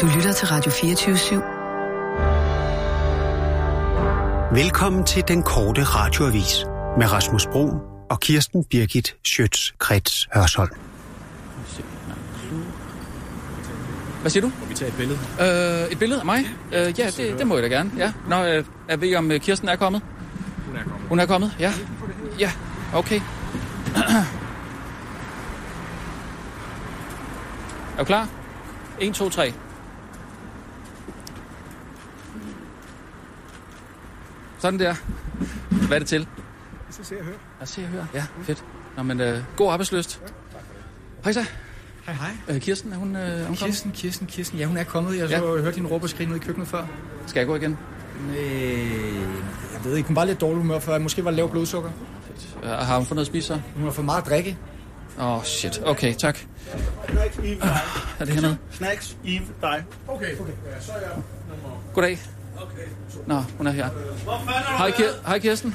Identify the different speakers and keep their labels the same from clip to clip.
Speaker 1: Du lytter til Radio
Speaker 2: Ah.
Speaker 1: 24-7.
Speaker 3: Velkommen til den korte radioavis med Rasmus Bro og Kirsten Birgit Schøtz-Krets Hørsholm.
Speaker 4: Hvad siger du?
Speaker 5: Må vi tage et billede?
Speaker 4: Øh, et billede af mig? Øh, ja, det, det må jeg da gerne. Ja. Nå, øh, jeg ved om øh, Kirsten er kommet.
Speaker 5: Hun er kommet.
Speaker 4: Hun er kommet, ja. Ja, okay. Er du klar? 1, 2, 3. Sådan der. Hvad er det til?
Speaker 5: Så ser jeg hører.
Speaker 4: Lad os se og høre. Ja, fedt. Nå, men øh, god arbejdsløst. Hej så.
Speaker 6: Hej, hej.
Speaker 4: Øh, Kirsten, er hun, øh, er hun kommet?
Speaker 6: Kirsten, Kirsten, Kirsten. Ja, hun er kommet. Jeg så hørte hende råbe og skrige ned i køkkenet før.
Speaker 4: Skal jeg gå igen?
Speaker 6: Øh, jeg ved ikke. Hun var lidt dårlig humør før. Måske var det lav blodsukker.
Speaker 4: Øh, har hun fået noget at spise så?
Speaker 6: Hun har fået meget at drikke.
Speaker 4: Åh, oh, shit. Okay, tak. Øh,
Speaker 7: Snacks, Eve, dig.
Speaker 4: Er det hernede?
Speaker 7: Snacks, Eve, dig.
Speaker 5: Okay, okay. Så er jeg.
Speaker 4: Goddag. Okay. Nå, hun er her.
Speaker 2: Hvor fanden er
Speaker 4: Hej, Kir- Hej Kirsten.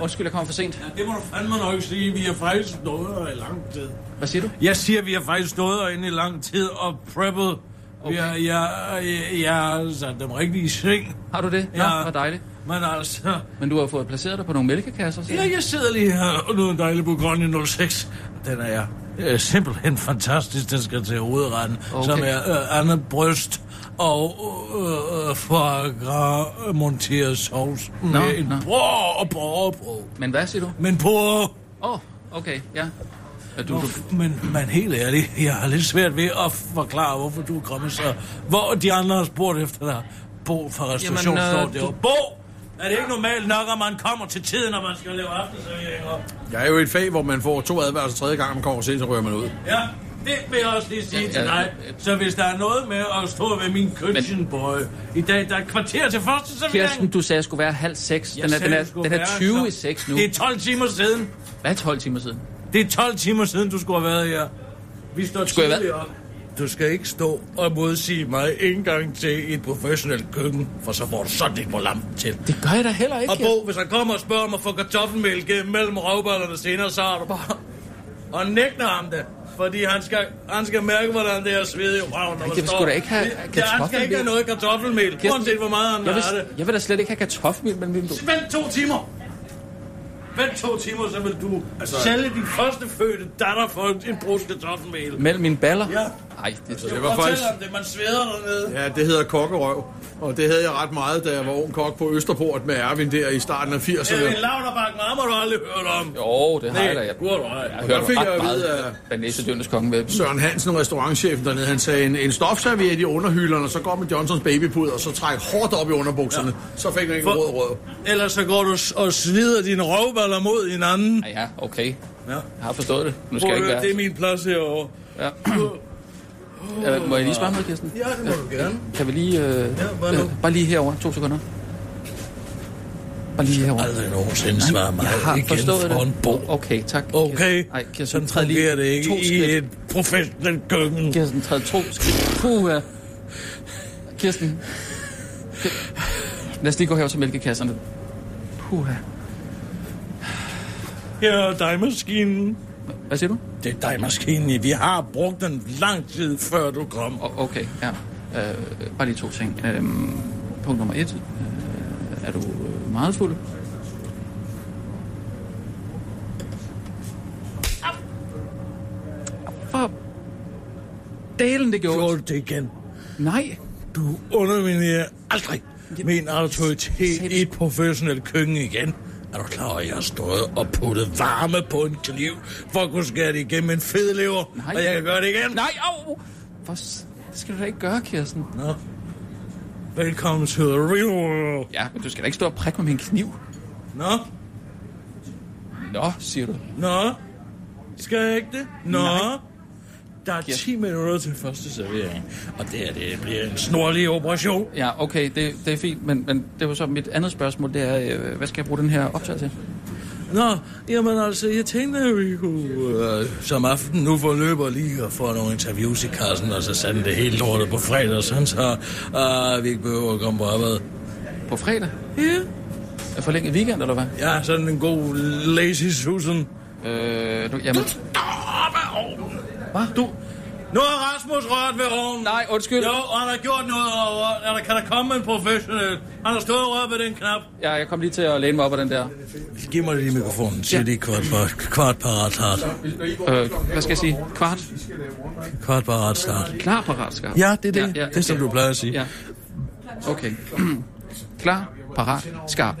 Speaker 4: Undskyld, jeg kom for sent.
Speaker 2: Det må du fandme nok sige. Vi har faktisk stået her i lang tid.
Speaker 4: Hvad siger du?
Speaker 2: Jeg siger, vi har faktisk stået herinde i lang tid og preppet. Okay. Jeg, jeg, jeg, jeg har sat dem rigtig i sving.
Speaker 4: Har du det? Nå,
Speaker 2: Ja.
Speaker 4: hvor dejligt.
Speaker 2: Men altså...
Speaker 4: Men du har fået placeret dig på nogle mælkekasser, siger
Speaker 2: Ja, jeg sidder lige her og nu er en dejlig Bugonje 06. Den er jeg øh, simpelthen fantastisk. Den skal til hovedretten,
Speaker 4: Okay.
Speaker 2: okay. som er øh, andet bryst og øh, øh, foie gras monteret sovs
Speaker 4: Nå,
Speaker 2: med en
Speaker 4: nå.
Speaker 2: bror og borgerbrød.
Speaker 4: Men hvad siger du?
Speaker 2: Men på...
Speaker 4: Åh, oh, okay, ja. Er du,
Speaker 2: Du,
Speaker 4: du...
Speaker 2: du... Men, men helt ærligt, jeg har lidt svært ved at forklare, hvorfor du er kommet så... Hvor de andre har spurgt efter dig. Bo fra restaurationen
Speaker 4: Jamen, øh,
Speaker 2: står øh, derovre.
Speaker 4: du-
Speaker 2: Bo! Er det ikke normalt nok, at man kommer til tiden, når man skal lave aftenserveringer?
Speaker 5: Jeg er jo i et fag, hvor man får to advarsler tredje gang, man kommer sent, så rører man ud.
Speaker 2: Ja, det vil jeg også lige
Speaker 4: Ja,
Speaker 2: sige ja,
Speaker 4: ja,
Speaker 2: til dig.
Speaker 4: ja.
Speaker 2: Så hvis der er noget med at stå ved min kitchen boy i dag, der er et kvarter til første servering.
Speaker 4: Kirsten, du sagde, jeg skulle være halv seks. Den
Speaker 2: Jeg
Speaker 4: er,
Speaker 2: sagde,
Speaker 4: den
Speaker 2: det
Speaker 4: er,
Speaker 2: skulle
Speaker 4: den er
Speaker 2: være
Speaker 4: 20 i
Speaker 2: så-
Speaker 4: seks nu.
Speaker 2: Det er 12 timer siden.
Speaker 4: Hvad er 12 timer siden?
Speaker 2: Det er 12 timer siden, du skulle have været her. Vi står
Speaker 4: Skulle jeg
Speaker 2: tidligt op. Du skal ikke stå og modsige mig en gang til et professionelt køkken, for så får du sådan lidt på lampen til.
Speaker 4: Det gør jeg da heller ikke.
Speaker 2: Og Bo, hvis han kommer og spørger om at få kartoffelmælk mellem røvballerne senere, så har du bare... Og nægter ham det. Fordi han skal, han skal mærke, hvordan det er sved i røven, når
Speaker 4: jeg
Speaker 2: man
Speaker 4: vil sgu
Speaker 2: står.
Speaker 4: da ikke have
Speaker 2: Det- det- Han skal ikke
Speaker 4: kartoffelmælk.
Speaker 2: have noget kartoffelmælk,
Speaker 4: Kirsten,
Speaker 2: uanset hvor meget han
Speaker 4: jeg,
Speaker 2: har
Speaker 4: vil,
Speaker 2: det.
Speaker 4: jeg vil da slet ikke have kartoffelmælk mellem vinduet.
Speaker 2: Vent to timer. Vent to timer, så vil du altså, sælge din første fødte datter for en brus kartoffelmel.
Speaker 4: Mellem mine baller?
Speaker 2: Ja.
Speaker 4: Nej, det,
Speaker 5: Det var
Speaker 2: Fortæl
Speaker 5: faktisk...
Speaker 2: om det, man sveder dernede.
Speaker 5: Ja, det hedder kokkerøv. Og det havde jeg ret meget, da jeg var ung kok på Østerport med Erwin der i starten af
Speaker 2: Ja, en
Speaker 5: 80'erne.
Speaker 2: lavnerbakke med ham, har du aldrig hørt om.
Speaker 4: Jo, det har jeg da. Jeg,
Speaker 2: du har du ej.
Speaker 4: jeg hørte
Speaker 5: fik
Speaker 4: ret
Speaker 5: jeg at
Speaker 4: meget
Speaker 5: vide,
Speaker 4: af
Speaker 5: at-
Speaker 4: Banæsedøndes konge.
Speaker 5: Søren Hansen, restaurantchefen dernede, han sagde, en, en stofserviet i underhylderne, og så går med Johnsons babypud, og så træk hårdt op i underbukserne. Så fik man ikke
Speaker 2: For-
Speaker 5: råd rød.
Speaker 2: Ellers så går du s- og slider dine røvballer mod hinanden.
Speaker 4: Ja, ja, okay.
Speaker 2: Ja.
Speaker 4: Jeg har forstået det. Nu skal
Speaker 2: Prøv
Speaker 4: jeg
Speaker 2: at
Speaker 4: ikke
Speaker 2: høre, det er
Speaker 4: være...
Speaker 2: min plads herovre.
Speaker 4: Ja. Øh, må jeg lige spørge noget, Kirsten?
Speaker 2: Ja, det må du gerne.
Speaker 4: Kan vi lige... Øh,
Speaker 2: Ja, bare nu.
Speaker 4: bare lige herover. To sekunder. Bare lige herover.
Speaker 2: Aldrig nogensinde svarer mig
Speaker 4: Jeg har
Speaker 2: igen
Speaker 4: forstået
Speaker 2: for en
Speaker 4: det.
Speaker 2: bog.
Speaker 4: Okay, tak.
Speaker 2: Okay,
Speaker 4: Kirsten. Ej, Kirsten,
Speaker 2: sådan
Speaker 4: træd lige
Speaker 2: fungerer det ikke
Speaker 4: to skridt.
Speaker 2: i et professionelt køkken.
Speaker 4: Kirsten, træd to skridt. Puh, ja. Kirsten. Ki- Lad os lige gå herover til mælkekasserne. Puh, ja.
Speaker 2: Her er dejmaskinen.
Speaker 4: Hvad siger du?
Speaker 2: Det er dejmaskinen. Vi har brugt den lang tid, før du kom.
Speaker 4: O- okay, ja. Øh, bare lige to ting. Øh, punkt nummer et. Øh, er du øh, meget fuld? Au. For dalen, det gjorde.
Speaker 2: Gjorde du det igen?
Speaker 4: Nej.
Speaker 2: Du underminerer aldrig min autoritet i et professionelt køkken igen. Er du klar over, at jeg har stået og puttet varme på en kniv, for at kunne skære det igennem en fedlever,
Speaker 4: Nej.
Speaker 2: og jeg kan gøre det igen?
Speaker 4: Nej, au! For, s- det skal du da ikke gøre, Kirsten.
Speaker 2: Nå. Velkommen til the real world.
Speaker 4: Ja, men du skal da ikke stå og prikke mig med en kniv.
Speaker 2: Nå,
Speaker 4: Nå, siger du.
Speaker 2: nå. Skal jeg ikke det? Nå.
Speaker 4: Nej.
Speaker 2: Der er 10 minutter til første servering, og det her det bliver en snorlig operation.
Speaker 4: Ja, okay, det, det er fint, men, men det var så mit andet spørgsmål, det er, øh, hvad skal jeg bruge den her optagelse til?
Speaker 2: Nå, jamen altså, jeg tænkte, at vi kunne øh, som aften nu forløber lige og få nogle interviews i kassen, og så sende det hele lortet på fredag, sådan så øh, vi ikke behøver at komme på arbejde.
Speaker 4: På fredag?
Speaker 2: Ja.
Speaker 4: Er Forlænget weekend, eller hvad?
Speaker 2: Ja, sådan en god lazy Susan.
Speaker 4: Øh, du, jamen,
Speaker 2: Hvad? Du, Nu har Rasmus rørt ved ovnen.
Speaker 4: Nej, undskyld.
Speaker 2: Jo, og han har gjort noget over. Eller kan der komme en professionel? Han har stået og rørt ved den knap.
Speaker 4: Ja, jeg kom lige til at læne mig op ad den der.
Speaker 2: Giv mig lige mikrofonen. Sig ja. lige kvart, par, kvart parat start.
Speaker 4: Øh, hvad skal jeg sige? Kvart?
Speaker 2: Kvart parat start.
Speaker 4: Klar parat, skarp.
Speaker 2: Ja, det er det.
Speaker 4: Ja, ja,
Speaker 2: det er, som
Speaker 4: okay.
Speaker 2: du plejer at sige.
Speaker 4: Ja. Okay. Klar, parat, skarp.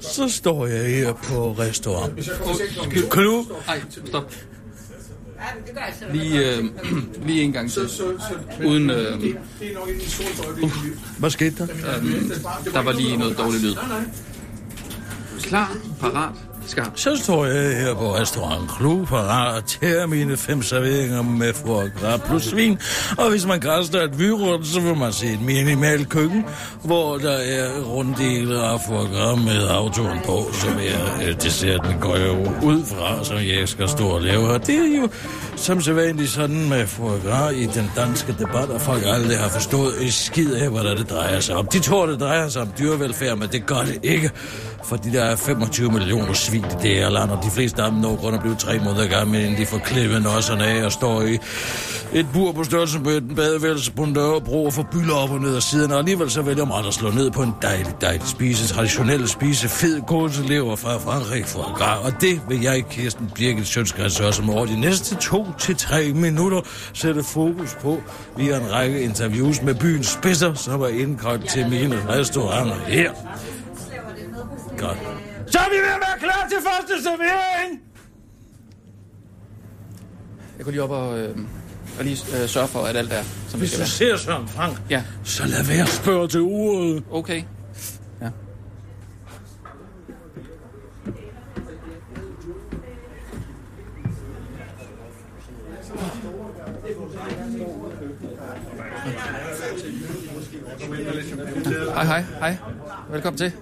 Speaker 2: Så står jeg her på restaurant. Klub.
Speaker 4: Ej, stop. Lige, øh, lige en gang til. Uden, øh,
Speaker 2: Hvad skete der?
Speaker 4: der var lige noget dårligt lyd. Klar, parat, skarp.
Speaker 2: Så står jeg her på restaurant Klub og tærer mine fem serveringer med foie gras plus svin. Og hvis man græster et vyrund, så vil man se et minimalt køkken, hvor der er runddele af foie gras med autoren på, som er øh, desserten går jeg jo ud fra, som jeg skal stå og lave. Og det er jo som sædvanligt sådan med foie gras i den danske debat, at folk aldrig har forstået et skid af, hvad der det drejer sig om. De tror, det drejer sig om dyrevelfærd, men det gør det ikke. Fordi der er 25 millioner svin i det her land, og de fleste af dem når kun at blive tre måneder gamle, inden de får klippet nosserne af og står i et bur på størrelse med en badeværelse på en dørbro og får bylder op og ned af siden, og alligevel så vælger man at slå ned på en dejlig, dejlig spise, traditionel spise, fed kålselever fra Frankrig for gras, og det vil jeg, Kirsten Birgit Sjønskreds, også som over de næste to til tre minutter sætte fokus på via en række interviews med byens spidser, som er indkaldt til mine restauranter her. Godt. Så er vi ved at være klar til første servering!
Speaker 4: Jeg går lige op og, øh, og lige øh, sørge for, at alt er, som det
Speaker 2: Hvis
Speaker 4: skal
Speaker 2: du
Speaker 4: være.
Speaker 2: ser Søren Frank,
Speaker 4: Ja,
Speaker 2: så lad være at spørge til uret.
Speaker 4: okay. Ja. Hej, hej, hej. Velkommen til.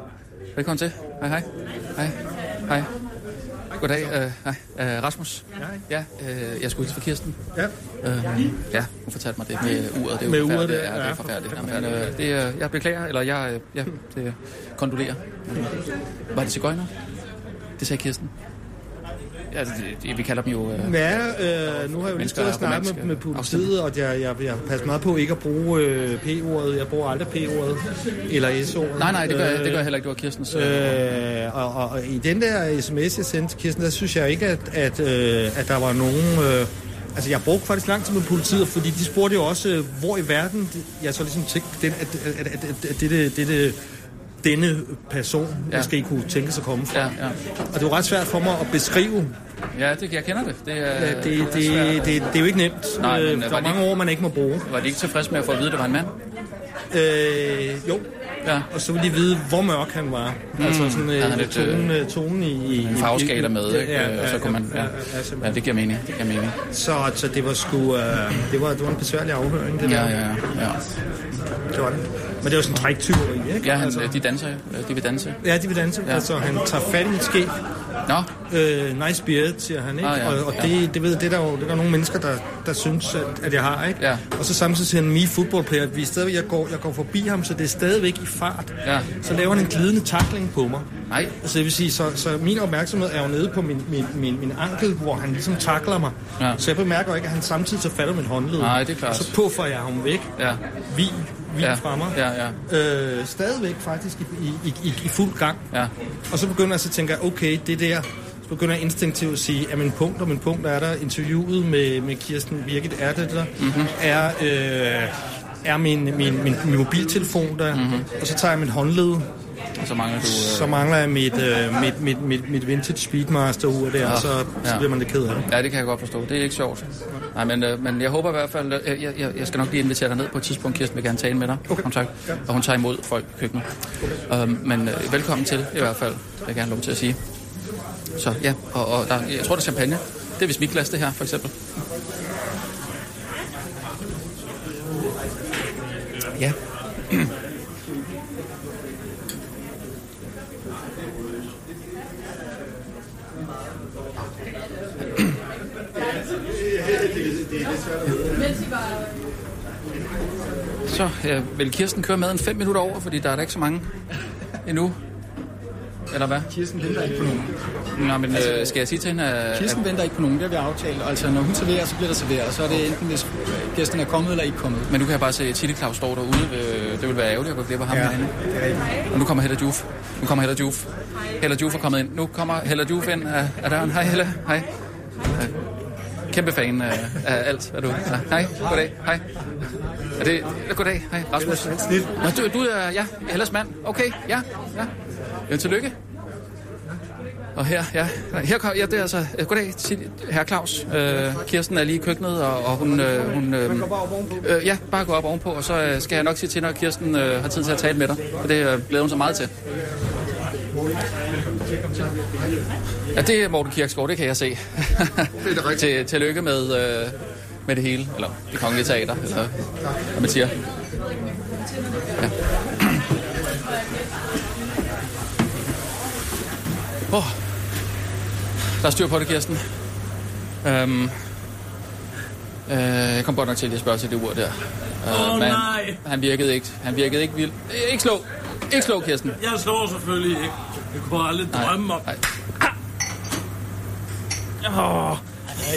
Speaker 4: Velkommen til. Hej, hej. Hej, hej. Goddag, øh, hej. Øh, Rasmus. Ja, øh, jeg skulle hilse fra Kirsten.
Speaker 5: Ja.
Speaker 4: Øh, ja, hun fortalte mig det med uret. Det er
Speaker 5: Med
Speaker 4: jo
Speaker 5: uret,
Speaker 4: forfærdeligt.
Speaker 5: det
Speaker 4: Ja,
Speaker 5: er-
Speaker 4: det er
Speaker 5: ja,
Speaker 4: forfærdeligt. Jamen, øh, det, er- jeg beklager, eller jeg øh, ja, det, kondolerer. Var det cigøjner? Det sagde Kirsten. Ja, det, det, vi kalder dem jo... Øh,
Speaker 8: Ja, øh, nu har jeg jo lige
Speaker 4: Mennesker
Speaker 8: stået og
Speaker 4: er
Speaker 8: snakket med,
Speaker 4: romantiske.
Speaker 8: med politiet, og jeg, jeg, jeg passer meget på ikke at bruge øh, P-ordet. Jeg bruger aldrig P-ordet eller S-ordet.
Speaker 4: nej, nej, det gør, jeg, det gør jeg heller ikke. Det var Kirstens... Øh,
Speaker 8: Øh, og, og, og i den der sms, jeg sendte til Kirsten, der synes jeg ikke, at, at, øh, at der var nogen... Øh, altså, jeg brugte faktisk lang tid med politiet, fordi de spurgte jo også, øh, hvor i verden... Jeg så ligesom tænkte, den, at, at, at, at, at dette, dette, denne person ja.
Speaker 4: Ja.
Speaker 8: måske kunne tænke sig at komme fra.
Speaker 4: ja, ja.
Speaker 8: Og det var ret svært for mig at beskrive,
Speaker 4: ja det, jeg kender det. Øh,
Speaker 8: Ja,
Speaker 4: Det, er,
Speaker 8: det, det, det, det, det er jo ikke nemt.
Speaker 4: Nej,
Speaker 8: Nej,
Speaker 4: men
Speaker 8: men, der
Speaker 4: var det
Speaker 8: er mange
Speaker 4: ikke-
Speaker 8: ord, man ikke må bruge.
Speaker 4: Var de ikke tilfredse med at få at vide, at det var en mand?
Speaker 8: Øh, jo,
Speaker 4: Ja.
Speaker 8: og så ville de vide, hvor mørk han var. Mm, altså sådan
Speaker 4: der er han
Speaker 8: øh,
Speaker 4: lidt,
Speaker 8: tonen, øh, tonen i... i
Speaker 4: En farveskala med, ikke? Øh,
Speaker 8: Ja, ja,
Speaker 4: og så kunne man, ja, ja, det giver mening, det giver mening.
Speaker 8: Så, så det var sgu... Øh, det, var, det var en besværlig afhøring, det
Speaker 4: Ja,
Speaker 8: der.
Speaker 4: ja, ja.
Speaker 8: Det var det. Men det var sådan en træktyveri, ikke?
Speaker 4: Ja, han, de danser jo. De vil danse.
Speaker 8: Ja, de vil danse. Ja. Altså, han tager fat i mit skæg.
Speaker 4: Nå,
Speaker 8: Øh, nice beard, siger han, ikke?
Speaker 4: Ah,
Speaker 8: Ah,
Speaker 4: ja,
Speaker 8: ja, og og
Speaker 4: ja.
Speaker 8: det, det, ved, det, er der jo, det er der nogle mennesker, der, der synes, at, at jeg har, ikke?
Speaker 4: Ja.
Speaker 8: Og så samtidig siger han, me football player, vi er stadigvæk, jeg, går, jeg går forbi ham, så det er stadigvæk i fart.
Speaker 4: Ja.
Speaker 8: Så laver han en glidende takling på mig.
Speaker 4: nej.
Speaker 8: Altså, det vil sige, så, så min opmærksomhed er jo nede på min, min, min, min ankel, hvor han ligesom takler mig.
Speaker 4: Ja.
Speaker 8: Så jeg bemærker jo ikke, at han samtidig så fatter mit håndled.
Speaker 4: Nej, det er klart.
Speaker 8: Og så puffer jeg ham væk.
Speaker 4: Ja.
Speaker 8: Vi, vi
Speaker 4: Ja.
Speaker 8: fra mig.
Speaker 4: Ja, ja.
Speaker 8: Øh, stadigvæk faktisk i, i, i, i fuld gang.
Speaker 4: Ja.
Speaker 8: Og så begynder jeg så at tænke, okay, det der... Så begynder jeg instinktivt at sige, at min punkt og min punkt er der. Interviewet med, med Kirsten Birgit er det der. Mm-hmm.
Speaker 4: Mhm.
Speaker 8: Er, øh, er min, min, min, min mobiltelefon der.
Speaker 4: Mhm.
Speaker 8: Mm-hmm. Og så tager jeg mit håndled.
Speaker 4: Og så mangler du... Øh,
Speaker 8: Så mangler jeg mit, øh, mit, mit, mit, mit vintage Speedmaster-ur der, ja. og så,
Speaker 4: ja.
Speaker 8: så bliver man lidt ked af det.
Speaker 4: Ja, det kan jeg godt forstå. Det er ikke sjovt. Nej, men, øh, men jeg håber i hvert fald... Øh, jeg, jeg, jeg skal nok lige invitere dig ned på et tidspunkt. Kirsten vil gerne tale med dig. Okay. Om tak. Og hun tager imod folk i køkkenet. Okay. Øhm, men øh, velkommen til, i hvert fald. Det vil jeg gerne have lov til at sige. Så ja, og, og der, jeg tror, der er champagne. Det er vist mit glas, det her, for eksempel. Ja. Så øh, vil Kirsten køre med en fem minutter over, fordi der er der ikke så mange endnu. eller hvad?
Speaker 6: Kirsten venter ikke på nogen.
Speaker 4: Nå, men øh, skal jeg sige til hende, at...
Speaker 6: Kirsten venter ikke på nogen, det har vi aftalt. Altså, når hun serverer, så bliver der serveret, og så er det enten, hvis gæsten er kommet eller ikke kommet.
Speaker 4: Men nu kan jeg bare se, at Tille Claus står derude. Øh, det vil være ærgerligt at gå glip af ham ja. herinde. Og nu kommer Hella Juf. Nu kommer Hella Juf. Hella Juf er kommet ind. Nu kommer Hella Juf ind af, af døren. Hej Hella. Hej. Øh, Kæmpe fan øh, af alt, er du? Ja. Hej. Goddag. Hej. Er det... Goddag. Hej. Rasmus. Nå, du, du er... Ja, Hellas mand. Okay. Ja. Ja. Jamen, tillykke. Og her, ja, Nej, her kom, ja, det er altså, øh, goddag, til herre Claus. Øh, Kirsten er lige i køkkenet, og, og hun... Øh, hun øh, Man går bare op ovenpå? Øh, ja, bare gå op ovenpå, og så øh, skal jeg nok sige til, når Kirsten øh, har tid til at tale med dig. Og det øh, glæder hun sig meget til. Ja, det er Morten Kirksgaard, det kan jeg se. det er rigtigt. til, tillykke med, øh, med det hele, eller det kongelige teater, eller hvad man siger. Ja. Åh, oh, der er styr på det, Kirsten. Øhm, øh, jeg kom godt nok til lige at spørge til det ur der. Øh,
Speaker 2: Åh,
Speaker 4: men
Speaker 2: nej.
Speaker 4: Han virkede ikke, han virkede ikke vild. Øh, Ikke slå, ikke slå, Kirsten.
Speaker 2: Jeg slår selvfølgelig ikke. Jeg kunne aldrig drømme om...
Speaker 4: Nej.
Speaker 2: Åh,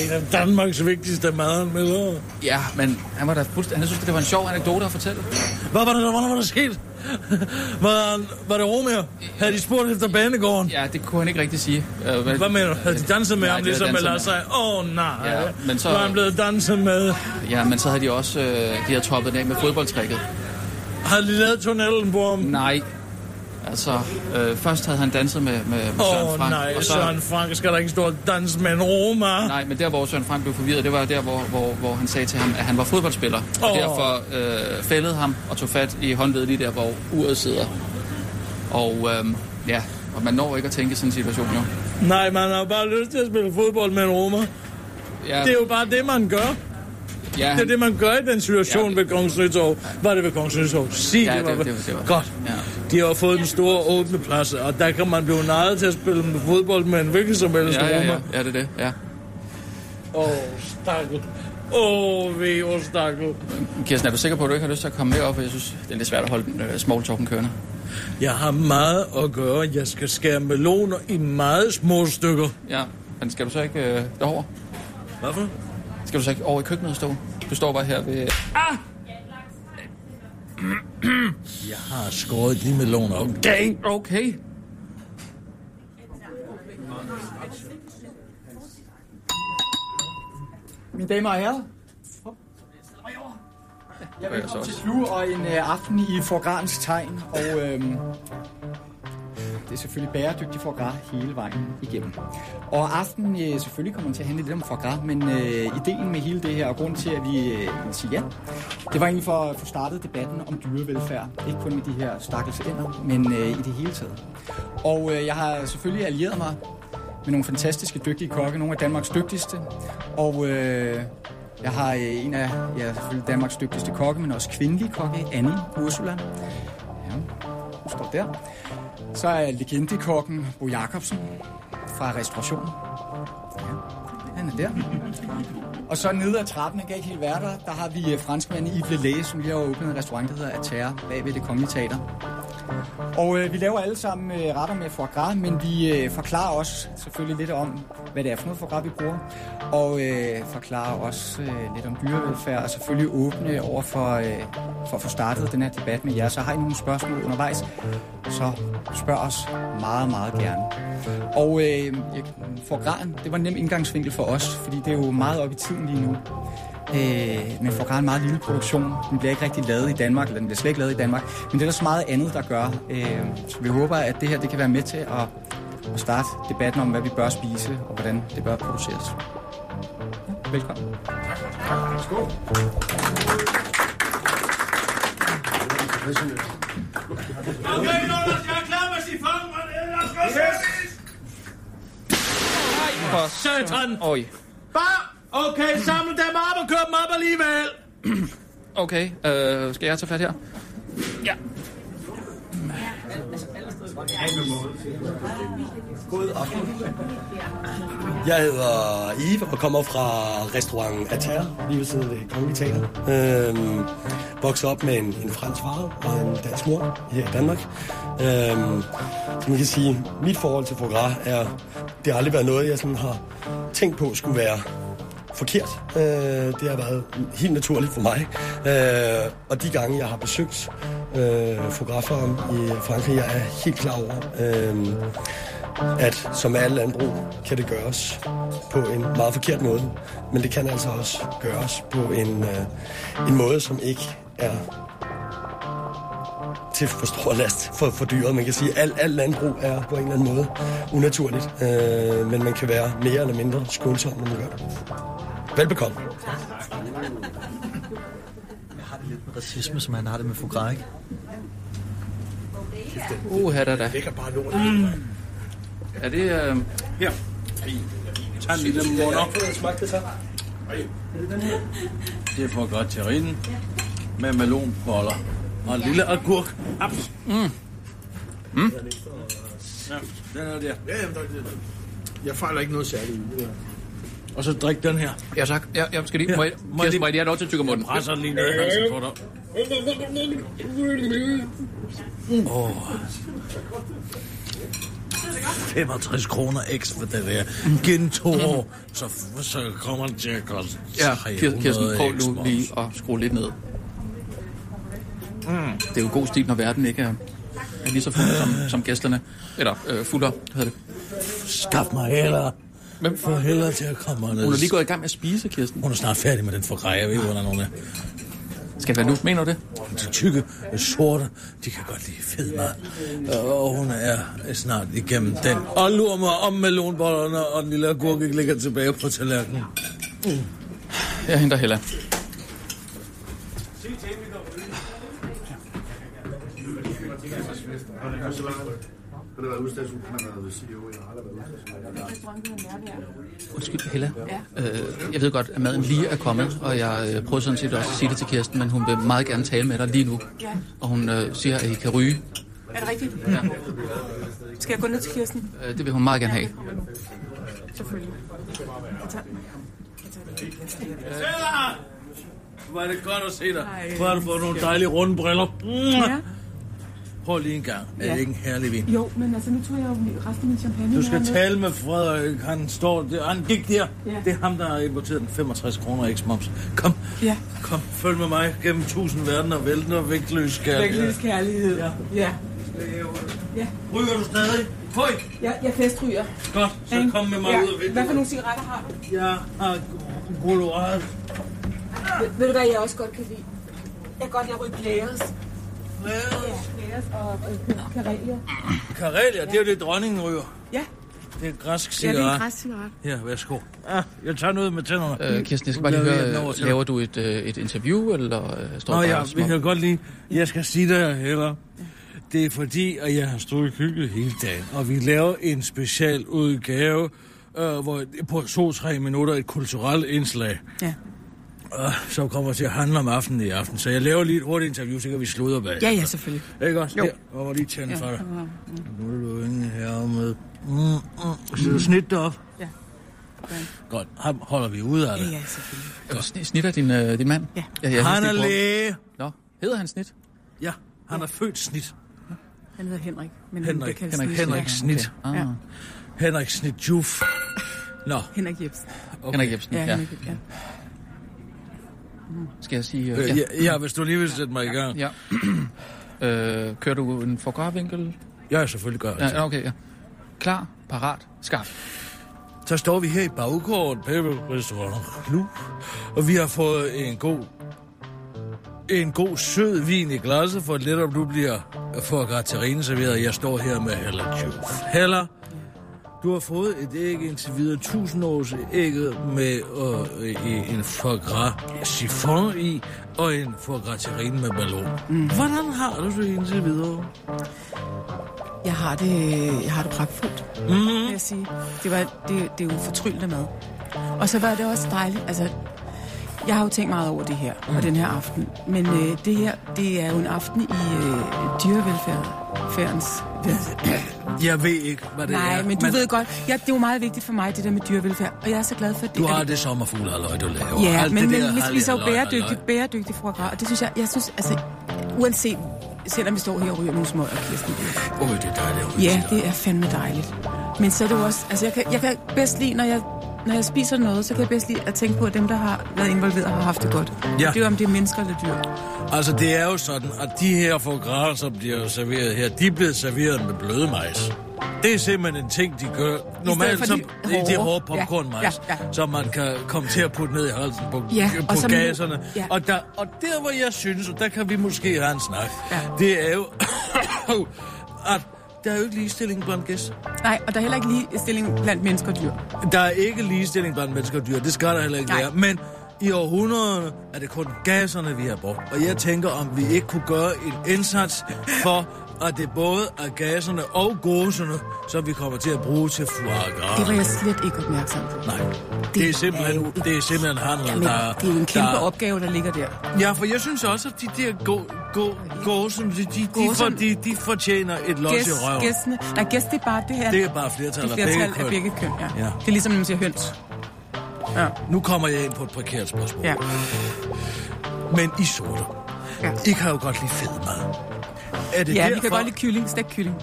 Speaker 2: en af Danmarks vigtigste madanmeldere.
Speaker 4: Ja, men han var da fuldstændig... Han synes, det var en sjov anekdote at fortælle.
Speaker 2: Hvad var der, hvad var der sket? Var, var det Romeo? Havde de spurgt efter banegården?
Speaker 4: Ja, det kunne han ikke rigtig sige. Øh, men-
Speaker 2: Hvad mener du? Havde de danset med
Speaker 4: Nej,
Speaker 2: ham,
Speaker 4: de havde
Speaker 2: ligesom med
Speaker 4: danset
Speaker 2: Lars
Speaker 4: med
Speaker 2: Seier? Åh, oh, nej.
Speaker 4: Ja, men så-
Speaker 2: Var han blevet danset med?
Speaker 4: Ja, men så havde de også... Øh, de havde toppet den af med fodboldtrækket.
Speaker 2: Havde de lavet tunnelen på ham?
Speaker 4: Nej. Altså, øh, først havde han danset med, med, med Søren
Speaker 2: Åh, oh,
Speaker 4: Frank.
Speaker 2: nej,
Speaker 4: og så,
Speaker 2: Søren Frank skal da ikke stå og danse med en Roma.
Speaker 4: Nej, men der, hvor Søren Frank blev forvirret, det var der, hvor, hvor, hvor han sagde til ham, at han var fodboldspiller. Og
Speaker 2: Åh.
Speaker 4: derfor øh, fældede ham og tog fat i håndledet lige der, hvor uret sidder. Og øh, ja, og man når ikke at tænke i sådan en situation jo.
Speaker 2: Nej, man har bare lyst til at spille fodbold med en romer.
Speaker 4: Ja,
Speaker 2: Det er jo bare det, man gør.
Speaker 4: ja,
Speaker 2: Det er det, man gør i den situation
Speaker 4: Ja.
Speaker 2: ved Kongens Nytorv. Var det ved Kongens Nytorv? Sig
Speaker 4: Ja,
Speaker 2: det, var
Speaker 4: det-
Speaker 2: ved-
Speaker 4: det- det var-
Speaker 2: Godt.
Speaker 4: ja.
Speaker 2: De har fået den store åbne plads, og der kan man blive nejet til at spille med fodbold med en hvilken som helst
Speaker 4: ja, ja, ja,
Speaker 2: romer.
Speaker 4: ja, det er det, ja.
Speaker 2: Åh, stakkel. Åh, ved, åh, stakkel.
Speaker 4: Kirsten, er du sikker på, at du ikke har lyst til at komme derop? For jeg synes, det er lidt svært at holde den uh, small talken kørende.
Speaker 2: Jeg har meget at gøre. Jeg skal skære meloner i meget små stykker.
Speaker 4: Ja, men skal du så ikke øh, derover?
Speaker 2: Hvorfor?
Speaker 4: Skal du så ikke over i køkkenet og stå? Du står bare her ved...
Speaker 2: Jeg har skåret de meloner op.
Speaker 4: Okay, okay.
Speaker 6: Mine damer og herrer, jeg
Speaker 4: Hvad er
Speaker 6: vil
Speaker 4: så
Speaker 6: komme til
Speaker 4: også?
Speaker 6: Flue og en øh, aften i Forgrans tegn, og øhm, det er selvfølgelig bæredygtig forgrat hele vejen igennem. Og aftenen øh, selvfølgelig kommer den til at handle lidt om forgrat, men øh, ideen med hele det her, og grund til, at vi øh, vil sige ja, det var egentlig for at få startet debatten om dyrevelfærd. Ikke kun med de her stakkels ender, men øh, i det hele taget. Og øh, jeg har selvfølgelig allieret mig med nogle fantastiske, dygtige kokke, nogle af Danmarks dygtigste. Og øh, jeg har øh, en af ja, selvfølgelig Danmarks dygtigste kokke, men også kvindelige kokke, Annie Ursula. Ja, hun står der. Så er legendekokken Bo Jacobsen fra restaurationen. Ja, han er der. Og så nede ad trappen, jeg kan ikke helt være der, der har vi øh, franskmanden Yves Lelay, som lige har åbnet en restaurant, der hedder Atterre, bag ved det kongelige teater. Og øh, vi laver alle sammen øh, retter med foie gras, men vi øh, forklarer også selvfølgelig lidt om, hvad det er for noget foie gras, vi bruger. Og øh, forklarer også øh, lidt om dyrevelfærd, og selvfølgelig åbne over for, øh, for at få startet den her debat med jer. Så har I nogle spørgsmål undervejs, så spørg os meget, meget gerne. Og øh, foie grasen, det var en nem indgangsvinkel for os, fordi det er jo meget op i tiden lige nu. Øh, men Forgran er en meget lille produktion. Den bliver ikke rigtig lavet i Danmark, eller den bliver slet ikke lavet i Danmark. Men det er der så meget andet, der gør. Øh, så vi håber, at det her det kan være med til at, at starte debatten om, hvad vi bør spise, og hvordan det bør produceres. Ja, velkommen.
Speaker 7: Okay, Jonas, jeg er klar, hvis I fanger mig. Ellers skal yes.
Speaker 4: For
Speaker 2: Satan!
Speaker 4: Oj.
Speaker 2: Bare! Okay, samle dem op og kør dem op alligevel!
Speaker 4: Okay, øh, skal jeg tage fat her?
Speaker 9: God aften. Jeg hedder Ive og kommer fra restaurant Atar, lige ved siden af det kongelige teater. Øhm, vokset op med en, en fransk far og en dansk mor her i Danmark. Øhm, så man kan sige, mit forhold til foie gras er, det har aldrig været noget, jeg sådan har tænkt på skulle være forkert. Øh, det har været helt naturligt for mig. Øh, og de gange, jeg har besøgt øh, fotografer i Frankrig, jeg er helt klar over, øh, at som med alle landbrug kan det gøres på en meget forkert måde, men det kan altså også gøres på en, øh, en måde, som ikke er til for stor last for, for dyret. Man kan sige, at al, al landbrug er på en eller anden måde unaturligt, øh, men man kan være mere eller mindre skånsom, når man gør det. Velbekomme.
Speaker 10: Racisme, som han har det med Fogra, ikke?
Speaker 4: Uh, her der da.
Speaker 5: Ligger bare lort.
Speaker 4: Er det... Øh,
Speaker 7: Her. Tag en lille munder.
Speaker 2: Det er for godt til rinden med melonboller og en lille agurk.
Speaker 7: Abs. Mm. Mm. Ja, den er der.
Speaker 5: Ja, jamen, der, der, jeg fejler ikke noget særligt. i det der.
Speaker 2: Og så drik den her.
Speaker 4: ja, tak. Ja, jeg skal lige... Må jeg, må jeg, må jeg lige have lov til at tykke munden?
Speaker 2: Presser den lige ned i halsen på dig. Åh. 65 kroner ekstra for det der. Gen to år, så, så kommer det til at koste
Speaker 4: Ja,
Speaker 2: 300
Speaker 4: Kir- Kirsten, prøv nu
Speaker 2: ekstra.
Speaker 4: lige at skrue lidt ned. Mm. Det er jo god stil, når verden ikke er, er lige så fuld som, som gæsterne. Eller øh, fuller, hedder det.
Speaker 2: Skaf mig heller. Hvem får heller til at komme herned?
Speaker 4: Hun er lige gået i gang med at spise, Kirsten.
Speaker 2: Hun er snart færdig med den for grej. Jeg ved, ikke, hvordan hun er.
Speaker 4: Skal jeg være nu? Mener du det?
Speaker 2: De tykke, øh, sorte, de kan godt lide fed mad. Øh, Og hun er snart igennem den. Og lurer mig om melonbollerne, og den lille agurk ikke ligger tilbage på tallerkenen.
Speaker 4: Jeg henter Hella. Undskyld, Hella. Ja. Øh, jeg ved godt, at maden lige er kommet, og jeg øh, prøvede sådan set også at sige det til Kirsten, men hun vil meget gerne tale med dig lige nu.
Speaker 11: Ja.
Speaker 4: Og hun øh, siger, at I kan ryge.
Speaker 11: Er det rigtigt?
Speaker 4: Ja.
Speaker 11: Skal jeg gå ned til Kirsten?
Speaker 4: Øh, det vil hun meget gerne have.
Speaker 11: Selvfølgelig. Jeg tager den. Jeg tager den. Jeg tager den.
Speaker 2: Hvor er det godt at se dig.
Speaker 11: Ej,
Speaker 2: Hvor har du fået nogle dejlige runde briller.
Speaker 11: Ja.
Speaker 2: Mm. Prøv lige en gang. Er
Speaker 11: Ja.
Speaker 2: det ikke en herlig vin?
Speaker 11: Jo, men altså, nu tog jeg jo resten af min champagne.
Speaker 2: Du skal
Speaker 11: hernede.
Speaker 2: tale med Frederik. Han står der. Han gik der.
Speaker 11: Ja.
Speaker 2: Det er ham, der har importeret den 65 kroner eks moms. Kom.
Speaker 11: Ja.
Speaker 2: Kom, følg med mig gennem tusind verdener, vælten og vægtløs skal.
Speaker 11: Vægtløs kærlighed. Ja. ja.
Speaker 2: Ryger du stadig? Høj!
Speaker 11: Jeg, jeg festryger.
Speaker 2: Godt, så
Speaker 11: ikke?
Speaker 2: kom med mig
Speaker 11: ja.
Speaker 2: ud af
Speaker 11: Hvad for
Speaker 2: vinduet.
Speaker 11: nogle cigaretter har du?
Speaker 2: Jeg har gulorad.
Speaker 11: Ved, ved du hvad, jeg også godt kan lide? Jeg kan godt lide at ryge players. Players og øh, karelier.
Speaker 2: Karelia, det er jo det, dronningen ryger.
Speaker 11: Ja.
Speaker 2: Det er en græsk
Speaker 11: Ja, det er en
Speaker 2: cigaret.
Speaker 11: græs cigaret.
Speaker 2: Ja, værsgo. Ah, jeg tager noget med tænderne.
Speaker 4: Øh, Kirsten, jeg skal bare lige
Speaker 2: Laver jeg den
Speaker 4: høre,
Speaker 2: over
Speaker 4: øh,
Speaker 2: til
Speaker 4: laver du et, øh, et interview, eller øh, står
Speaker 2: Nå
Speaker 4: du
Speaker 2: ja,
Speaker 4: bare som
Speaker 2: vi
Speaker 4: om-
Speaker 2: kan godt lide. Jeg skal sige dig, heller. Det er fordi, at jeg har stået i køkkenet hele dagen, og vi laver en special udgave, øh, hvor på to-tre minutter et kulturelt indslag,
Speaker 11: Ja.
Speaker 2: øh, som kommer til at handle om aftenen i aften. Så jeg laver lige et hurtigt interview, så kan vi sludre bag.
Speaker 11: Ja, ja, selvfølgelig.
Speaker 2: Ikke også? Jo. Her, og var lige tænde for dig. Nu er du ingen her med. Mm, mm. Så du snit dig op.
Speaker 11: Ja.
Speaker 2: Godt, ham holder vi ud af
Speaker 11: Ja,
Speaker 2: det.
Speaker 11: ja, selvfølgelig.
Speaker 4: Øh, sni- Snitter din, øh, din mand?
Speaker 11: Ja.
Speaker 4: ja jeg
Speaker 2: Han er
Speaker 4: læge.
Speaker 2: læge.
Speaker 4: Nå, hedder han Snit?
Speaker 2: Ja, han er født snit.
Speaker 11: Han hedder Henrik. Men
Speaker 2: Henrik.
Speaker 11: det kan
Speaker 2: Henrik.
Speaker 11: sige-
Speaker 2: Henrik
Speaker 11: Ja.
Speaker 2: Snit.
Speaker 4: Okay. Ah,
Speaker 11: Ja.
Speaker 2: Henrik Snit Juf. Nå,
Speaker 11: Henrik Jebsen.
Speaker 2: okay.
Speaker 4: Henrik Jebsen,
Speaker 11: Ja,
Speaker 4: ja.
Speaker 11: Henrik Jebsen. Ja.
Speaker 4: Skal jeg sige... Øh,
Speaker 2: Øh,
Speaker 4: ja.
Speaker 2: ja, ja, hvis du lige vil sætte mig i gang.
Speaker 4: ja. øh, kører du en forgårdvinkel?
Speaker 2: Ja, selvfølgelig gør jeg det.
Speaker 4: Ja, okay, ja. Klar, parat, skarp.
Speaker 2: Så står vi her i baggården, Peppe Restaurant og Klub, og vi har fået en god en god sød vin i glasset, for lidt om du bliver for Katarina serveret. Jeg står her med Hella Juf. Hella, du har fået et æg indtil videre, 1000 års ægget med øh, i en foie gras chiffon i, og en foie gras terrine med ballon. Mm. Hvordan har du det indtil videre?
Speaker 11: Jeg har det, jeg har det pragtfuldt,
Speaker 2: Mhm.
Speaker 11: mm. vil jeg sige. Det, var, det, det er jo fortryllende mad. Og så var det også dejligt, altså,
Speaker 12: Jeg har jo tænkt meget over det her, mm. og den her aften. Men øh, det her, det er jo en aften i øh, dyrevelfærdens...
Speaker 2: Jeg ved ikke, hvad det
Speaker 12: Nej,
Speaker 2: er.
Speaker 12: men du ved godt, ja, det er jo meget vigtigt for mig, det der med dyrevelfærd. Og jeg er så glad for, at det
Speaker 2: Du
Speaker 12: er
Speaker 2: har det sommerfuglehalløj, du laver.
Speaker 12: Ja,
Speaker 2: Alt
Speaker 12: men,
Speaker 2: det
Speaker 12: men
Speaker 2: der
Speaker 12: vi, vi så jo
Speaker 2: halløj,
Speaker 12: bæredygtig,
Speaker 2: halløj.
Speaker 12: bæredygtig foie gras, og det synes jeg, jeg synes, altså, uanset, selvom vi står her og ryger nogle små og kirsten.
Speaker 2: Åh, det er dejligt. at
Speaker 12: Ja, det er fandme dejligt. Men så er det jo også, altså jeg kan, jeg kan bedst lide, når jeg, når jeg spiser noget, så kan jeg bedst lide at tænke på, at dem, der har været involveret, har haft det godt.
Speaker 2: Ja.
Speaker 12: Det er jo, om det er mennesker eller dyr.
Speaker 2: Altså, det er jo sådan, at de her foie som bliver serveret her, de er blevet serveret med bløde majs. Det er simpelthen en ting, de gør. Normalt
Speaker 12: for
Speaker 2: så
Speaker 12: de
Speaker 2: det er de
Speaker 12: hårde.
Speaker 2: hårde popcornmajs,
Speaker 12: Ja,
Speaker 2: ja,
Speaker 12: ja, ja.
Speaker 2: som man kan komme til at putte ned i halsen på,
Speaker 12: Ja,
Speaker 2: på
Speaker 12: og som-
Speaker 2: gaserne.
Speaker 12: ja.
Speaker 2: Og, der, og der, hvor jeg synes, og der kan vi måske have en snak, ja. det er jo, at der er jo ikke ligestilling blandt gæster.
Speaker 12: Nej, og der er heller ikke lige stilling blandt mennesker og dyr.
Speaker 2: Der er ikke ligestilling blandt mennesker og dyr. Det skal der heller ikke
Speaker 12: Nej.
Speaker 2: være. Men i århundrederne er det kun gasserne, vi har brugt. Og jeg tænker, om vi ikke kunne gøre en indsats for, at det både er gasserne og gåserne, som vi kommer til at bruge til foie gras.
Speaker 12: Det var jeg slet ikke opmærksom på.
Speaker 2: Nej, det er simpelthen, det er simpelthen handel,
Speaker 12: Jamen,
Speaker 2: der...
Speaker 12: det er jo en kæmpe
Speaker 2: der-
Speaker 12: opgave, der ligger der.
Speaker 2: Ja, for jeg synes også, at de der gå, gå, gåsen, de, de, de, for,
Speaker 12: Gåsen.
Speaker 2: de, de fortjener et los i
Speaker 12: Gæs,
Speaker 2: røven.
Speaker 12: gæstene. Nej, gæst, det er bare det her.
Speaker 2: Det er bare flertal
Speaker 12: det
Speaker 2: af
Speaker 12: er
Speaker 2: begge
Speaker 12: flertal af
Speaker 2: køn.
Speaker 12: begge køn. Ja.
Speaker 2: Ja.
Speaker 12: Det er ligesom, når man siger høns. Ja.
Speaker 2: Nu kommer jeg ind på et prekært spørgsmål.
Speaker 12: Ja.
Speaker 2: Men I sorter. Ja. I kan jo godt lide fed mad. Er det
Speaker 12: ja,
Speaker 2: derfor?
Speaker 12: vi kan godt lide kylling, stegt kylling.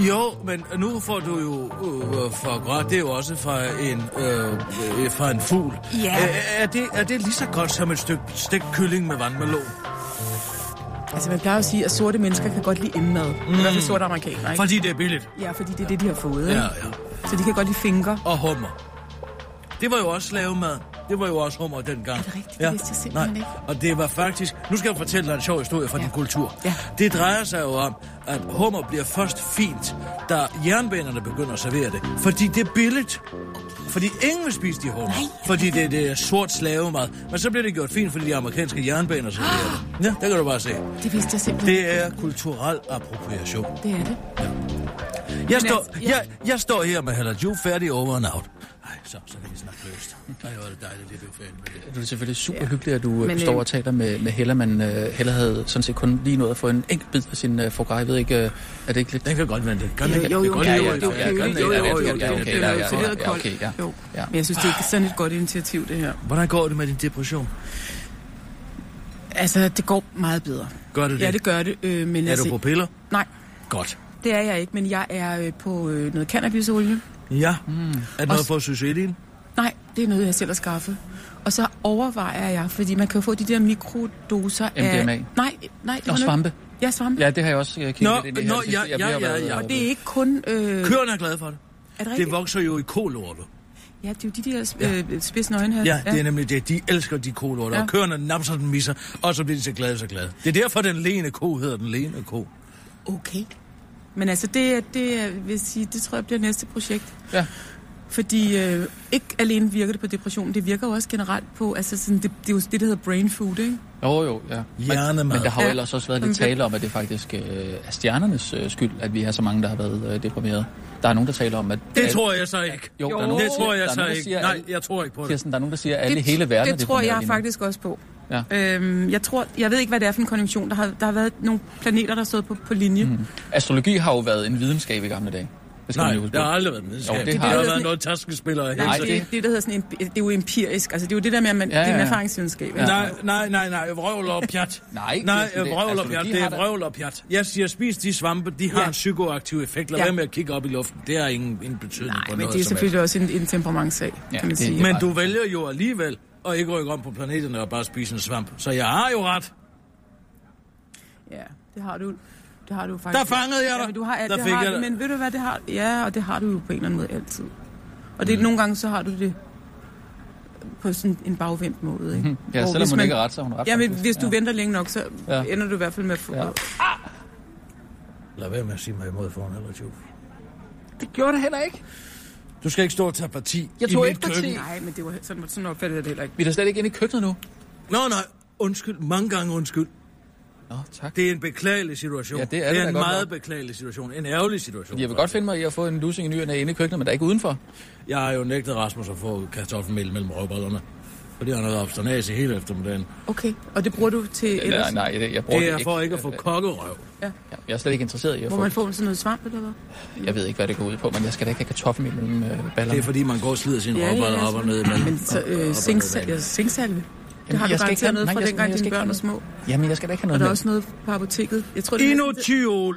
Speaker 2: Jo, men nu får du jo øh, for græt, det er jo også fra en, øh, øh, fra en fugl.
Speaker 12: Ja.
Speaker 2: Er, er, det, er det lige så godt som et stykke stegt kylling med vandmelon?
Speaker 12: Altså, man plejer jo at sige, at sorte mennesker kan godt lide indmad. Mm. I hvert fald sorte amerikanere, ikke?
Speaker 2: Fordi det er billigt.
Speaker 12: Ja, fordi det er det, de har fået.
Speaker 2: Ja,
Speaker 12: ikke?
Speaker 2: ja.
Speaker 12: Så de kan godt lide fingre.
Speaker 2: Og hummer. Det var jo også slavemad. Det var jo også hummer dengang. Er det rigtigt? Ja. Det vidste jeg simpelthen Nej. ikke. Og det var faktisk... Nu skal jeg fortælle dig en sjov historie fra ja. din kultur. Ja. Det drejer sig jo om, at hummer bliver først fint, da jernbanerne begynder at servere det. Fordi det er billigt. Fordi ingen vil spise de hummer. Fordi det, det er sort slavemad. Men så bliver det gjort fint, fordi de amerikanske jernbaner serverer det. Ja, der kan du bare se.
Speaker 12: Det vidste jeg simpelthen.
Speaker 2: Det er kulturel appropriation.
Speaker 12: Det er det.
Speaker 2: Jeg
Speaker 12: Men
Speaker 2: står,
Speaker 12: altså, ja.
Speaker 2: jeg, jeg står her med Halajou færdig over and out. Ej, så, så kan vi snakke løst. Ej, hvor er det dejligt, at du er færdig med det.
Speaker 4: Det er selvfølgelig super ja. hyggeligt, at du
Speaker 2: Men,
Speaker 4: Men, står
Speaker 2: øh,
Speaker 4: og taler med, med Hella, men uh, Hella havde sådan set kun lige nået at få en enkelt bid af sin uh, foie gras. Jeg ved ikke, uh, er det ikke lidt... Den
Speaker 2: kan godt vente.
Speaker 12: Jo, jo, jo, det er jo- det er jo køligt. Jo, jo, jo, jo, det er jo serveret koldt. Jo. Men jeg synes, det er sådan et godt initiativ, det her.
Speaker 2: Hvordan går det med din depression?
Speaker 12: Altså, det går meget bedre.
Speaker 2: Gør det det?
Speaker 12: Ja, det gør det. Øh, men
Speaker 2: Er
Speaker 12: altså,
Speaker 2: du på piller?
Speaker 12: Nej,
Speaker 2: Godt.
Speaker 12: det er jeg ikke, men jeg er øh, på øh, noget cannabisolie.
Speaker 2: Ja. Mm. Er det noget
Speaker 12: Også-
Speaker 2: for Susilien?
Speaker 12: Nej, det er noget, jeg selv har skaffet. Og så overvejer jeg, fordi man kan jo få de der mikrodoser af...
Speaker 4: MDMA.
Speaker 12: Nej, nej. det
Speaker 4: Og
Speaker 12: var noget-
Speaker 4: svampe.
Speaker 12: Ja, svampe.
Speaker 4: Ja, det har jeg også øh, kigget
Speaker 2: Nå,
Speaker 4: lidt ind i her
Speaker 2: nå,
Speaker 4: det sidste.
Speaker 2: ja,
Speaker 4: Jeg
Speaker 2: ja,
Speaker 4: ved at
Speaker 2: ja,
Speaker 4: være-
Speaker 2: ja.
Speaker 12: Og det er ikke kun... Øh,
Speaker 2: Køerne er glade for det.
Speaker 12: Er det
Speaker 2: Det
Speaker 12: rigtigt?
Speaker 2: vokser jo i kolorter.
Speaker 12: Ja, det er jo de der øh, spidsnøgne her.
Speaker 2: Ja, det er nemlig det. De elsker de kolorter.
Speaker 12: Ja.
Speaker 2: Og køerne napser den misser, og så bliver de så glade, så glade. Det er derfor, den lene ko hedder den lene ko.
Speaker 12: Okay. Men altså, det, er- det er- vil sige, det tror jeg bliver næste projekt.
Speaker 4: Ja.
Speaker 12: Fordi øh, ikke alene virker det på depression, det virker jo også generelt på, altså sådan, det, det er jo det, der hedder brain food, ikke?
Speaker 4: Jo, jo, ja. Men,
Speaker 2: Hjernemad.
Speaker 4: men der har jo
Speaker 12: Ja.
Speaker 4: ellers også været lidt
Speaker 12: Men-
Speaker 4: tale om, at det faktisk øh, er stjernernes øh, skyld, at vi har så mange, der har været øh, deprimeret. Der er nogen, der taler om, at...
Speaker 2: Det tror jeg så ikke.
Speaker 4: Jo, der er nogen,
Speaker 2: det
Speaker 4: der siger-
Speaker 2: tror
Speaker 4: der
Speaker 2: jeg
Speaker 4: er
Speaker 2: så
Speaker 4: nogen, der
Speaker 2: ikke.
Speaker 4: siger,
Speaker 2: Nej,
Speaker 4: at-
Speaker 2: jeg tror ikke på det.
Speaker 4: Kirsten, der er nogen, der siger, at alle i hele verden er
Speaker 12: Det tror
Speaker 4: deprimeret
Speaker 12: jeg
Speaker 4: lige nu.
Speaker 12: faktisk også på.
Speaker 4: Ja.
Speaker 12: Øhm, jeg tror, jeg ved ikke, hvad det er for en konjunktion. Der har, der har været nogle planeter, der har stået på, på linje. Mm.
Speaker 4: Astrologi har jo været en videnskab i gamle dage. Det skal
Speaker 2: Nej,
Speaker 4: man jo huske
Speaker 2: der
Speaker 4: på.
Speaker 2: har aldrig været en videnskab.
Speaker 4: Jo,
Speaker 2: Det
Speaker 4: det
Speaker 2: har
Speaker 4: har
Speaker 2: været noget taskespiller af
Speaker 12: Nej,
Speaker 2: helvede.
Speaker 12: det, det, det, der hedder sådan en, det er jo empirisk. Altså, det er jo det der med, at man, ja,
Speaker 2: Ja,
Speaker 12: ja, ja. det er
Speaker 2: ja,
Speaker 12: en
Speaker 2: ja.
Speaker 12: erfaringsvidenskab. ikke?
Speaker 2: Nej, nej, nej, nej, vrøvl og pjat.
Speaker 4: nej,
Speaker 2: nej,
Speaker 4: Kirsten, det-
Speaker 2: vrøvl og
Speaker 4: astrologi
Speaker 2: pjat,
Speaker 4: har
Speaker 2: det er
Speaker 4: da-
Speaker 2: vrøvl og pjat. Jeg siger, spis de svampe, de har
Speaker 12: Ja.
Speaker 2: en psykoaktiv effekt. Lad
Speaker 12: Ja.
Speaker 2: være med at kigge op i luften, det har ingen, ingen betydning nej, på
Speaker 12: Men
Speaker 2: noget
Speaker 12: det er
Speaker 2: som
Speaker 12: selvfølgelig også en, en temperamentsag, ja, kan man
Speaker 2: helst.
Speaker 12: sige.
Speaker 2: Men du vælger jo alligevel at ikke rykke om på planeterne og bare spise en svamp. Så jeg har jo ret.
Speaker 12: Ja, det har du. Det har du
Speaker 2: Der
Speaker 12: faktisk.
Speaker 2: fangede jeg dig.
Speaker 12: Ja, men du har, alt,
Speaker 2: Der
Speaker 12: det
Speaker 2: fik
Speaker 12: har,
Speaker 2: jeg
Speaker 12: du,
Speaker 2: dig.
Speaker 12: Men ved du hvad, det har Ja, og det har du jo på en eller anden måde altid. Og det, mm. nogle gange, så har du det på sådan en bagvendt måde. Ikke?
Speaker 4: Mhm. Ja,
Speaker 12: Hvor
Speaker 4: selvom
Speaker 12: hvis
Speaker 4: hun ikke har ret, så har hun ret,
Speaker 12: Ja, men
Speaker 4: faktisk.
Speaker 12: hvis du
Speaker 4: Ja.
Speaker 12: ja. venter længe nok, så
Speaker 4: Ja.
Speaker 12: ja. ender du i hvert fald med at få... Ja.
Speaker 2: Lad være med at sige mig imod foran eller tjuv.
Speaker 12: Det gjorde det heller ikke.
Speaker 2: Du skal ikke stå og tage parti
Speaker 12: Jeg
Speaker 2: i
Speaker 12: tog
Speaker 2: mit
Speaker 12: ikke parti.
Speaker 2: køkken.
Speaker 12: Nej, men det var sådan, sådan opfattede jeg det heller ikke.
Speaker 4: Vi er da slet ikke inde i køkkenet nu.
Speaker 2: Nå, nej, undskyld, mange gange undskyld.
Speaker 4: Nå, tak.
Speaker 2: Det er en beklagelig situation.
Speaker 4: Ja, det er
Speaker 2: det
Speaker 4: det
Speaker 2: er
Speaker 4: da
Speaker 2: en
Speaker 4: godt
Speaker 2: meget
Speaker 4: nok.
Speaker 2: beklagelig situation. En ærgerlig situation.
Speaker 4: Fordi jeg vil godt finde mig i at få en lussing i nyerne inde i køkkenet, men der er ikke udenfor.
Speaker 2: Jeg har jo nægtet Rasmus at få kartoffelmel mellem røvballerne. fordi han har været obsternase hele eftermiddagen.
Speaker 12: Okay, og det bruger du til
Speaker 4: Nej,
Speaker 12: ellers?
Speaker 4: nej, jeg, jeg bruger
Speaker 2: Det er
Speaker 4: ikke.
Speaker 2: for ikke at få kokkerøv.
Speaker 12: Ja.
Speaker 4: Jeg er slet ikke interesseret i at
Speaker 12: Må
Speaker 4: få...
Speaker 12: man få sådan noget svamp eller hvad?
Speaker 4: Jeg ved ikke, hvad det går ud på, men jeg skal da ikke have kartoffel i mellem øh, ballerne.
Speaker 2: Det er fordi, man går og slider sine
Speaker 12: Ja, ja,
Speaker 2: råbriller
Speaker 12: ja,
Speaker 2: op og
Speaker 12: sådan.
Speaker 2: ned imellem.
Speaker 12: Men så,
Speaker 2: Op- op- op-
Speaker 12: øh,
Speaker 2: op-
Speaker 12: zinksalve, ja, zinksalve. Det
Speaker 2: Jamen,
Speaker 12: har du
Speaker 2: jeg skal ikke
Speaker 12: garanteret
Speaker 2: have-
Speaker 12: noget
Speaker 2: nej,
Speaker 12: fra
Speaker 2: jeg skal-
Speaker 12: dengang,
Speaker 2: jeg skal
Speaker 12: dine
Speaker 2: ikke
Speaker 12: børn
Speaker 2: have
Speaker 12: var små.
Speaker 4: Jamen, jeg skal da ikke have
Speaker 12: Og
Speaker 2: noget
Speaker 12: der er
Speaker 2: med.
Speaker 12: også noget på apoteket. Jeg tror, det
Speaker 2: Inotyol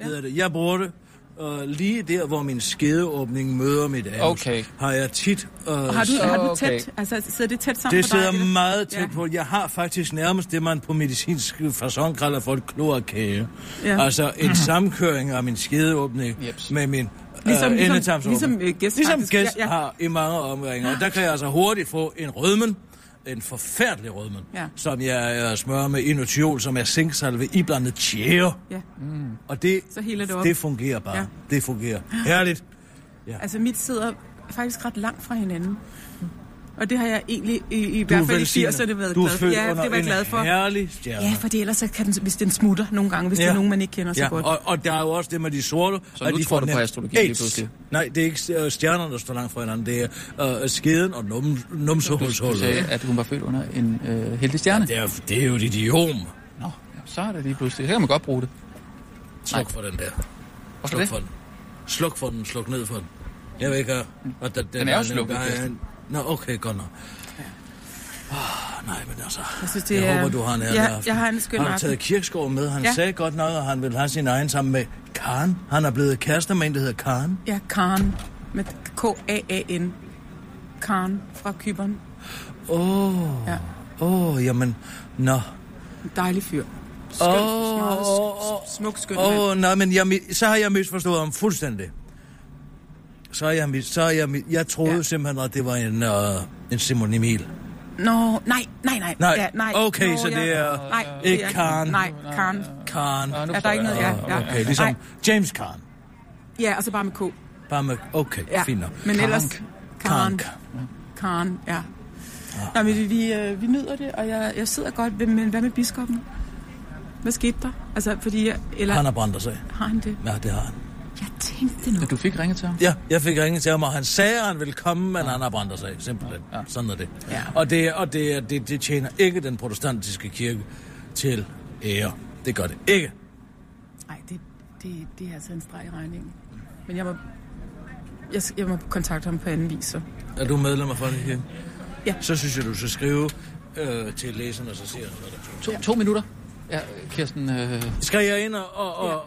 Speaker 2: hedder det. Jeg bruger det. Og lige der, hvor min skedeåbning møder mit anus,
Speaker 4: Okay.
Speaker 2: har jeg tit... Øh,
Speaker 12: Og har du,
Speaker 2: så-
Speaker 12: har du tæt, altså sidder det tæt sammen
Speaker 2: Det
Speaker 12: for dig?
Speaker 2: sidder
Speaker 12: eller?
Speaker 2: meget tæt
Speaker 12: Ja.
Speaker 2: på. Jeg har faktisk nærmest det, man på medicinsk fasong kalder for et kloakage.
Speaker 12: Ja. Mhm.
Speaker 2: Ja. Altså en samkøring af min skedeåbning
Speaker 4: Jeps.
Speaker 2: med min
Speaker 12: Ligesom-
Speaker 2: ligesom, øh,
Speaker 12: ligesom-
Speaker 2: endetarmsåbning.
Speaker 12: ligesom, øh, gæst
Speaker 2: ligesom
Speaker 12: faktisk.
Speaker 2: gæst
Speaker 12: Ja,
Speaker 2: ja,
Speaker 12: ja.
Speaker 2: ja. har i mange omgange. Og der kan jeg altså hurtigt få en rødmen, en forfærdelig rødmen,
Speaker 12: Ja.
Speaker 2: ja. som jeg, jeg smører med inotiol, som er zinksalve iblandet tjære.
Speaker 12: Ja.
Speaker 2: Og det,
Speaker 12: Så heler det op.
Speaker 2: det fungerer bare.
Speaker 12: Ja.
Speaker 2: Ja. Det fungerer. Herligt.
Speaker 12: Altså mit sidder faktisk ret langt fra hinanden. Og det har jeg egentlig i, i
Speaker 2: Du er
Speaker 12: hvert fald i
Speaker 2: velsignet.
Speaker 12: 80'erne været
Speaker 2: Du er
Speaker 12: glad for.
Speaker 2: født
Speaker 12: ja, det
Speaker 2: under
Speaker 12: var jeg
Speaker 2: en
Speaker 12: glad for.
Speaker 2: herlig stjerne.
Speaker 12: Ja, fordi ellers så kan den, hvis den smutter nogle gange, hvis ja. det er nogen, man ikke kender så
Speaker 2: ja,
Speaker 12: godt.
Speaker 2: Og, og der er jo også det med de sorte.
Speaker 4: Så
Speaker 2: at
Speaker 4: nu
Speaker 2: de
Speaker 4: tror
Speaker 2: får
Speaker 4: du på
Speaker 2: nemt
Speaker 4: astrologi lige
Speaker 2: AIDS.
Speaker 4: pludselig?
Speaker 2: Nej, det er ikke øh, stjernerne, der står langt fra hinanden. Det er øh, skeden og num,
Speaker 4: Du
Speaker 2: numsehulshullet.
Speaker 4: sagde, at hun var født under en øh, heldig stjerne.
Speaker 2: Ja, det, er, det er jo et idiom.
Speaker 4: Nå, ja, så er det lige pludselig. Så kan man godt bruge det.
Speaker 2: Sluk
Speaker 4: Nej.
Speaker 2: for den der.
Speaker 4: Hvorfor
Speaker 2: Sluk
Speaker 4: det?
Speaker 2: for den. Sluk for den. Sluk ned for den. Jeg vil ikke have... Og da, den,
Speaker 4: Den er jo slukket,
Speaker 2: der er
Speaker 4: Kirsten.
Speaker 2: en- Nå, okay, godt nok. Oh, nej, men altså...
Speaker 12: Jeg, synes, det
Speaker 2: Det jeg
Speaker 12: er...
Speaker 2: håber, du har en
Speaker 12: ja,
Speaker 2: ærlig aften.
Speaker 12: jeg har en skøn
Speaker 2: Har du taget
Speaker 12: aften.
Speaker 2: Kirksgaard med? Han
Speaker 12: Ja.
Speaker 2: ja. sagde godt nok, at han ville have sin egen sammen med Karen. Han er blevet kærester med en, der hedder Karen.
Speaker 12: Ja, Karen. Med K-A-A-N. Karen fra Kyberen.
Speaker 2: Åh, oh,
Speaker 12: Ja.
Speaker 2: åh, oh, jamen, nå.
Speaker 12: En dejlig fyr. Skøn,
Speaker 2: Åh,
Speaker 12: oh,
Speaker 2: åh,
Speaker 12: smuk, skøn oh,
Speaker 2: Åh, oh, nej, men jeg, mi- så har jeg misforstået ham fuldstændig. Så har jeg, mis- så har jeg, mi- jeg troede ja. simpelthen, at det var en, uh, en Simon Emil.
Speaker 12: Nå, nej, nej, nej.
Speaker 2: Nej.
Speaker 12: Ja, nej.
Speaker 2: Okay,
Speaker 12: Nå,
Speaker 2: så det er
Speaker 12: Nej,
Speaker 2: ikke
Speaker 12: det er-
Speaker 2: Karen.
Speaker 12: Nej, Karen.
Speaker 2: Karen.
Speaker 12: nu Er der ikke noget? Ja, ja.
Speaker 2: Okay, ligesom
Speaker 12: Nej.
Speaker 2: James Karen.
Speaker 12: Ja, og så bare med K.
Speaker 2: Bare med, okay,
Speaker 12: Ja.
Speaker 2: ja. fint nok.
Speaker 12: Men ellers...
Speaker 2: Karen.
Speaker 12: Karen. Karen, ja. Nå, men vi, vi, øh, vi nyder det, og jeg, jeg sidder godt. ved- Men hvad med biskoppen? Hvad skete der? Altså, fordi... Jeg, eller
Speaker 2: Han har brændt sig.
Speaker 12: har han det?
Speaker 2: Ja, det har han.
Speaker 12: Jeg tænkte
Speaker 4: Men
Speaker 12: noget.
Speaker 4: Du fik ringet til ham?
Speaker 2: Ja, jeg fik ringet til ham, og han sagde, at han ville komme, men han har brændt sig af, simpelthen. Ja. Sådan er det.
Speaker 12: Ja.
Speaker 2: Og, det, og det, er- det, det tjener ikke den protestantiske kirke til ære. Det gør det ikke.
Speaker 12: Nej, det, det, det er altså en streg i regningen. Men jeg må, jeg, jeg må kontakte ham på anden vis, så.
Speaker 2: Er du medlem af Folkekirken?
Speaker 12: Ja.
Speaker 2: Så synes jeg, du skal skrive øh, til læserne, så siger jeg noget.
Speaker 4: To, to minutter. Ja, Kirsten... Øh,
Speaker 2: Skal jeg ind og... og, og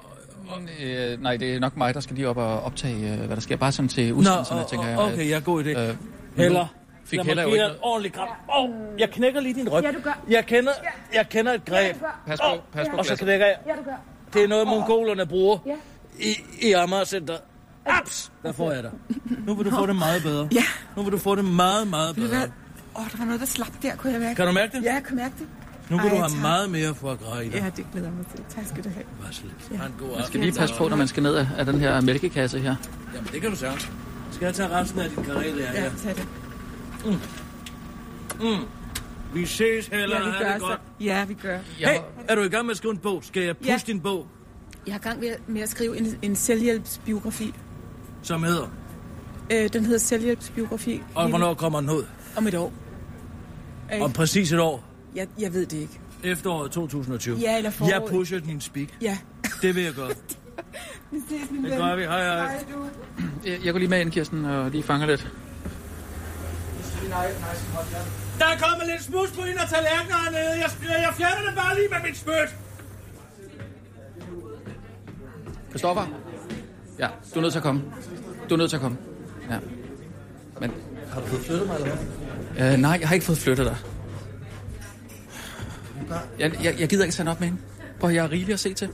Speaker 4: øh, nej, det er nok mig, der skal lige op og optage, øh, hvad der sker. Bare sådan til
Speaker 2: Nå,
Speaker 4: udsendelserne,
Speaker 2: og-
Speaker 4: tænker jeg.
Speaker 2: og- okay, jeg er god idé. Øh,
Speaker 4: Heller.
Speaker 2: Heller.
Speaker 4: Fik
Speaker 2: Lad mig
Speaker 4: heller jo
Speaker 2: give
Speaker 4: ikke
Speaker 2: dig en ordentlig kram. Åh, oh, jeg knækker lige din ryg.
Speaker 11: Ja, du gør.
Speaker 2: Jeg kender, jeg kender et greb.
Speaker 4: Pas på,
Speaker 2: Åh,
Speaker 4: pas på
Speaker 2: Og så
Speaker 4: glasset.
Speaker 2: knækker jeg.
Speaker 11: Ja, du gør.
Speaker 2: Det er noget, mongolerne bruger
Speaker 11: Ja. Altså-
Speaker 2: i, i Amager Center. Aps! Der får jeg dig. Nu vil du få det meget bedre.
Speaker 12: Ja.
Speaker 2: Nu vil du få det meget, meget
Speaker 12: Ved du
Speaker 2: bedre.
Speaker 12: hvad? Åh, oh, der var noget, der slap der, kunne jeg mærke.
Speaker 2: Kan du mærke det?
Speaker 12: Ja, jeg kan mærke det.
Speaker 2: Nu vil du
Speaker 12: Ej,
Speaker 2: have
Speaker 12: tak.
Speaker 2: meget mere for at græde i dig.
Speaker 12: Ja, det glæder jeg mig til. Tak skal du have.
Speaker 2: Bare så lidt. Ha' en god
Speaker 4: Man skal
Speaker 2: aften.
Speaker 4: lige passe på, når man skal ned af- af den her mælkekasse her.
Speaker 2: Jamen, det kan du sagtens. Skal jeg tage resten af din karel her?
Speaker 12: Ja,
Speaker 2: Ja.
Speaker 12: tag det.
Speaker 2: Vi ses heller.
Speaker 12: Ja, vi
Speaker 2: Ha'
Speaker 12: gør
Speaker 2: det
Speaker 12: så.
Speaker 2: godt.
Speaker 12: Ja, vi gør.
Speaker 2: Hey, er du i gang med at skrive en bog? Skal jeg pusse
Speaker 12: Ja.
Speaker 2: din bog,
Speaker 12: Jeg er i gang med, med at skrive en, en selvhjælpsbiografi.
Speaker 2: som hedder?
Speaker 12: Øh, den hedder Selvhjælpsbiografi.
Speaker 2: Og hvornår kommer den ud?
Speaker 12: Om et år. Øh,
Speaker 2: Om præcis et år.
Speaker 12: jeg, jeg ved det ikke.
Speaker 2: Efteråret 2020.
Speaker 12: Ja, eller foråret.
Speaker 2: Jeg pusher din speak.
Speaker 12: Ja.
Speaker 2: Det vil jeg gøre. Det gør vi. Hej, hej.
Speaker 4: Jeg, jeg går lige med ind, Kirsten, og lige fanger lidt.
Speaker 7: Der er kommet lidt smus på en af tallerkenerne nede. Jeg, jeg fjerner det bare lige med mit spyt.
Speaker 4: Kristoffer? Ja, du er nødt til at komme. Du er nødt til at komme. Ja. Men,
Speaker 10: Har du fået flyttet mig, eller hvad?
Speaker 4: øh, nej, jeg har ikke fået flyttet dig. Jeg, jeg, jeg gider ikke sende op med hende. Prøv, at jeg er rigelig at se til.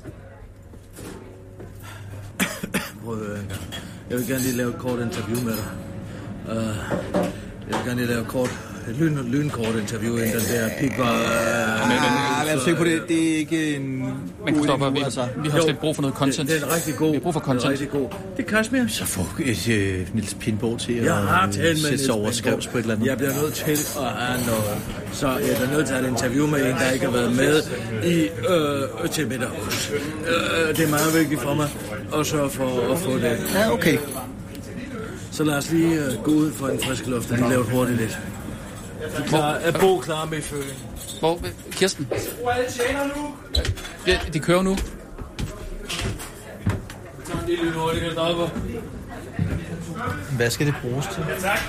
Speaker 2: Prøv at høre en gang. Jeg vil gerne lige lave et kort interview med dig. Uh, jeg vil gerne lige lave et kort, et lyn, lynkort interview, inden den der pik var... Uh,
Speaker 10: Ah, lad os se på det. Det er ikke en...
Speaker 4: Men Kristoffer,
Speaker 10: uge
Speaker 4: vi,
Speaker 10: endnu, altså.
Speaker 4: vi har
Speaker 2: Jo.
Speaker 4: også lidt brug for noget
Speaker 2: det,
Speaker 4: content.
Speaker 2: det, er en rigtig god.
Speaker 4: Vi har brug for
Speaker 2: den er
Speaker 4: content.
Speaker 2: rigtig god. Det er Kashmir.
Speaker 10: Så få et øh, Niels Pindborg til at
Speaker 2: Jeg har
Speaker 10: øh,
Speaker 2: talt med
Speaker 10: sætte
Speaker 2: Niels
Speaker 10: sig over og
Speaker 2: Pindborg.
Speaker 10: skrives på et eller andet.
Speaker 2: Jeg bliver nødt til at have noget. Så jeg bliver nødt til at have et interview med en, der ikke har været med i, øh, til middag. Øh, det er meget vigtigt for mig at sørge for at få det.
Speaker 10: Ja, okay.
Speaker 2: Så lad os lige øh, gå ud for en frisk luft og lige lave et hurtigt lidt. De klar, er Bo klar med følgen?
Speaker 4: Hvor? Kirsten?
Speaker 7: Brug alle tjener nu.
Speaker 4: De, de kører nu.
Speaker 2: Sådan en lille hurtig kan starte på.
Speaker 10: Hvad skal det bruges til?
Speaker 2: Tak.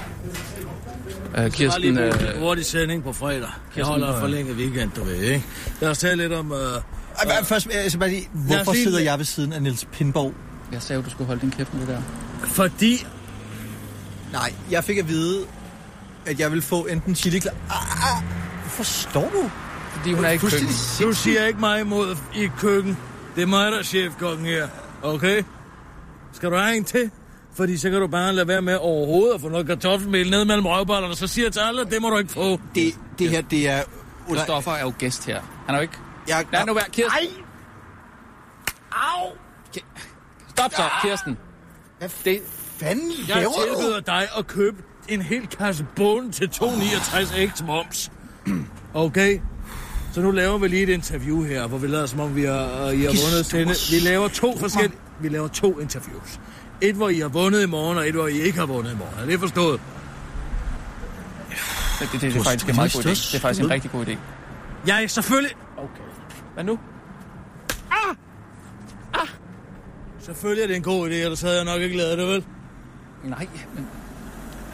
Speaker 4: Øh, Kirsten,
Speaker 2: Bare lige
Speaker 4: øh,
Speaker 2: en hurtig sending på fredag. Jeg
Speaker 10: Kirsten,
Speaker 2: holder en
Speaker 10: øh,
Speaker 2: forlænget weekend, du ved, ikke? Lad os tale lidt om... Øh,
Speaker 10: Ej, men først, altså, bare lige,
Speaker 2: Lad
Speaker 10: hvorfor
Speaker 2: os lige-
Speaker 10: sidder jeg ved siden af Niels Pindborg?
Speaker 4: Jeg sagde jo, du skulle holde din kæft med det der.
Speaker 2: Fordi...
Speaker 10: Nej, jeg fik at vide, at jeg ville få enten chili ah, ah, Forstår du?
Speaker 4: Fordi hun er ikke
Speaker 10: Fuldstændig
Speaker 2: køkken. Du siger ikke mig imod i køkken. Det er mig, der er chefkokken her. Okay? Skal du have en til? Fordi så kan du bare lade være med overhovedet at få noget kartoffelmel ned mellem røvbollerne, så siger jeg til alle, at det må du ikke få.
Speaker 10: Det, det her, det er...
Speaker 4: Christoffer er jo gæst her. Han er jo ikke...
Speaker 10: Jeg,
Speaker 4: Lad nu være, Kirsten. Nej! Au! Stop så, Kirsten. Det,
Speaker 10: Fanden
Speaker 2: Jeg tilbyder dig at købe en hel kasse bån til 2,69 ægte moms. Okay? Så nu laver vi lige et interview her, hvor vi lader som om, vi har, øh, I har vundet sende. Vi laver to forskellige... Vi laver to interviews. Et, hvor I har vundet i morgen, og et, hvor I ikke har vundet i morgen. Er det forstået?
Speaker 4: det, det, det, er faktisk en meget god idé. Det er faktisk en rigtig god idé.
Speaker 2: Jeg er selvfølgelig...
Speaker 4: Hvad nu?
Speaker 2: Selvfølgelig er det en god idé, ellers havde jeg nok ikke lavet det, vel?
Speaker 4: Nej, men...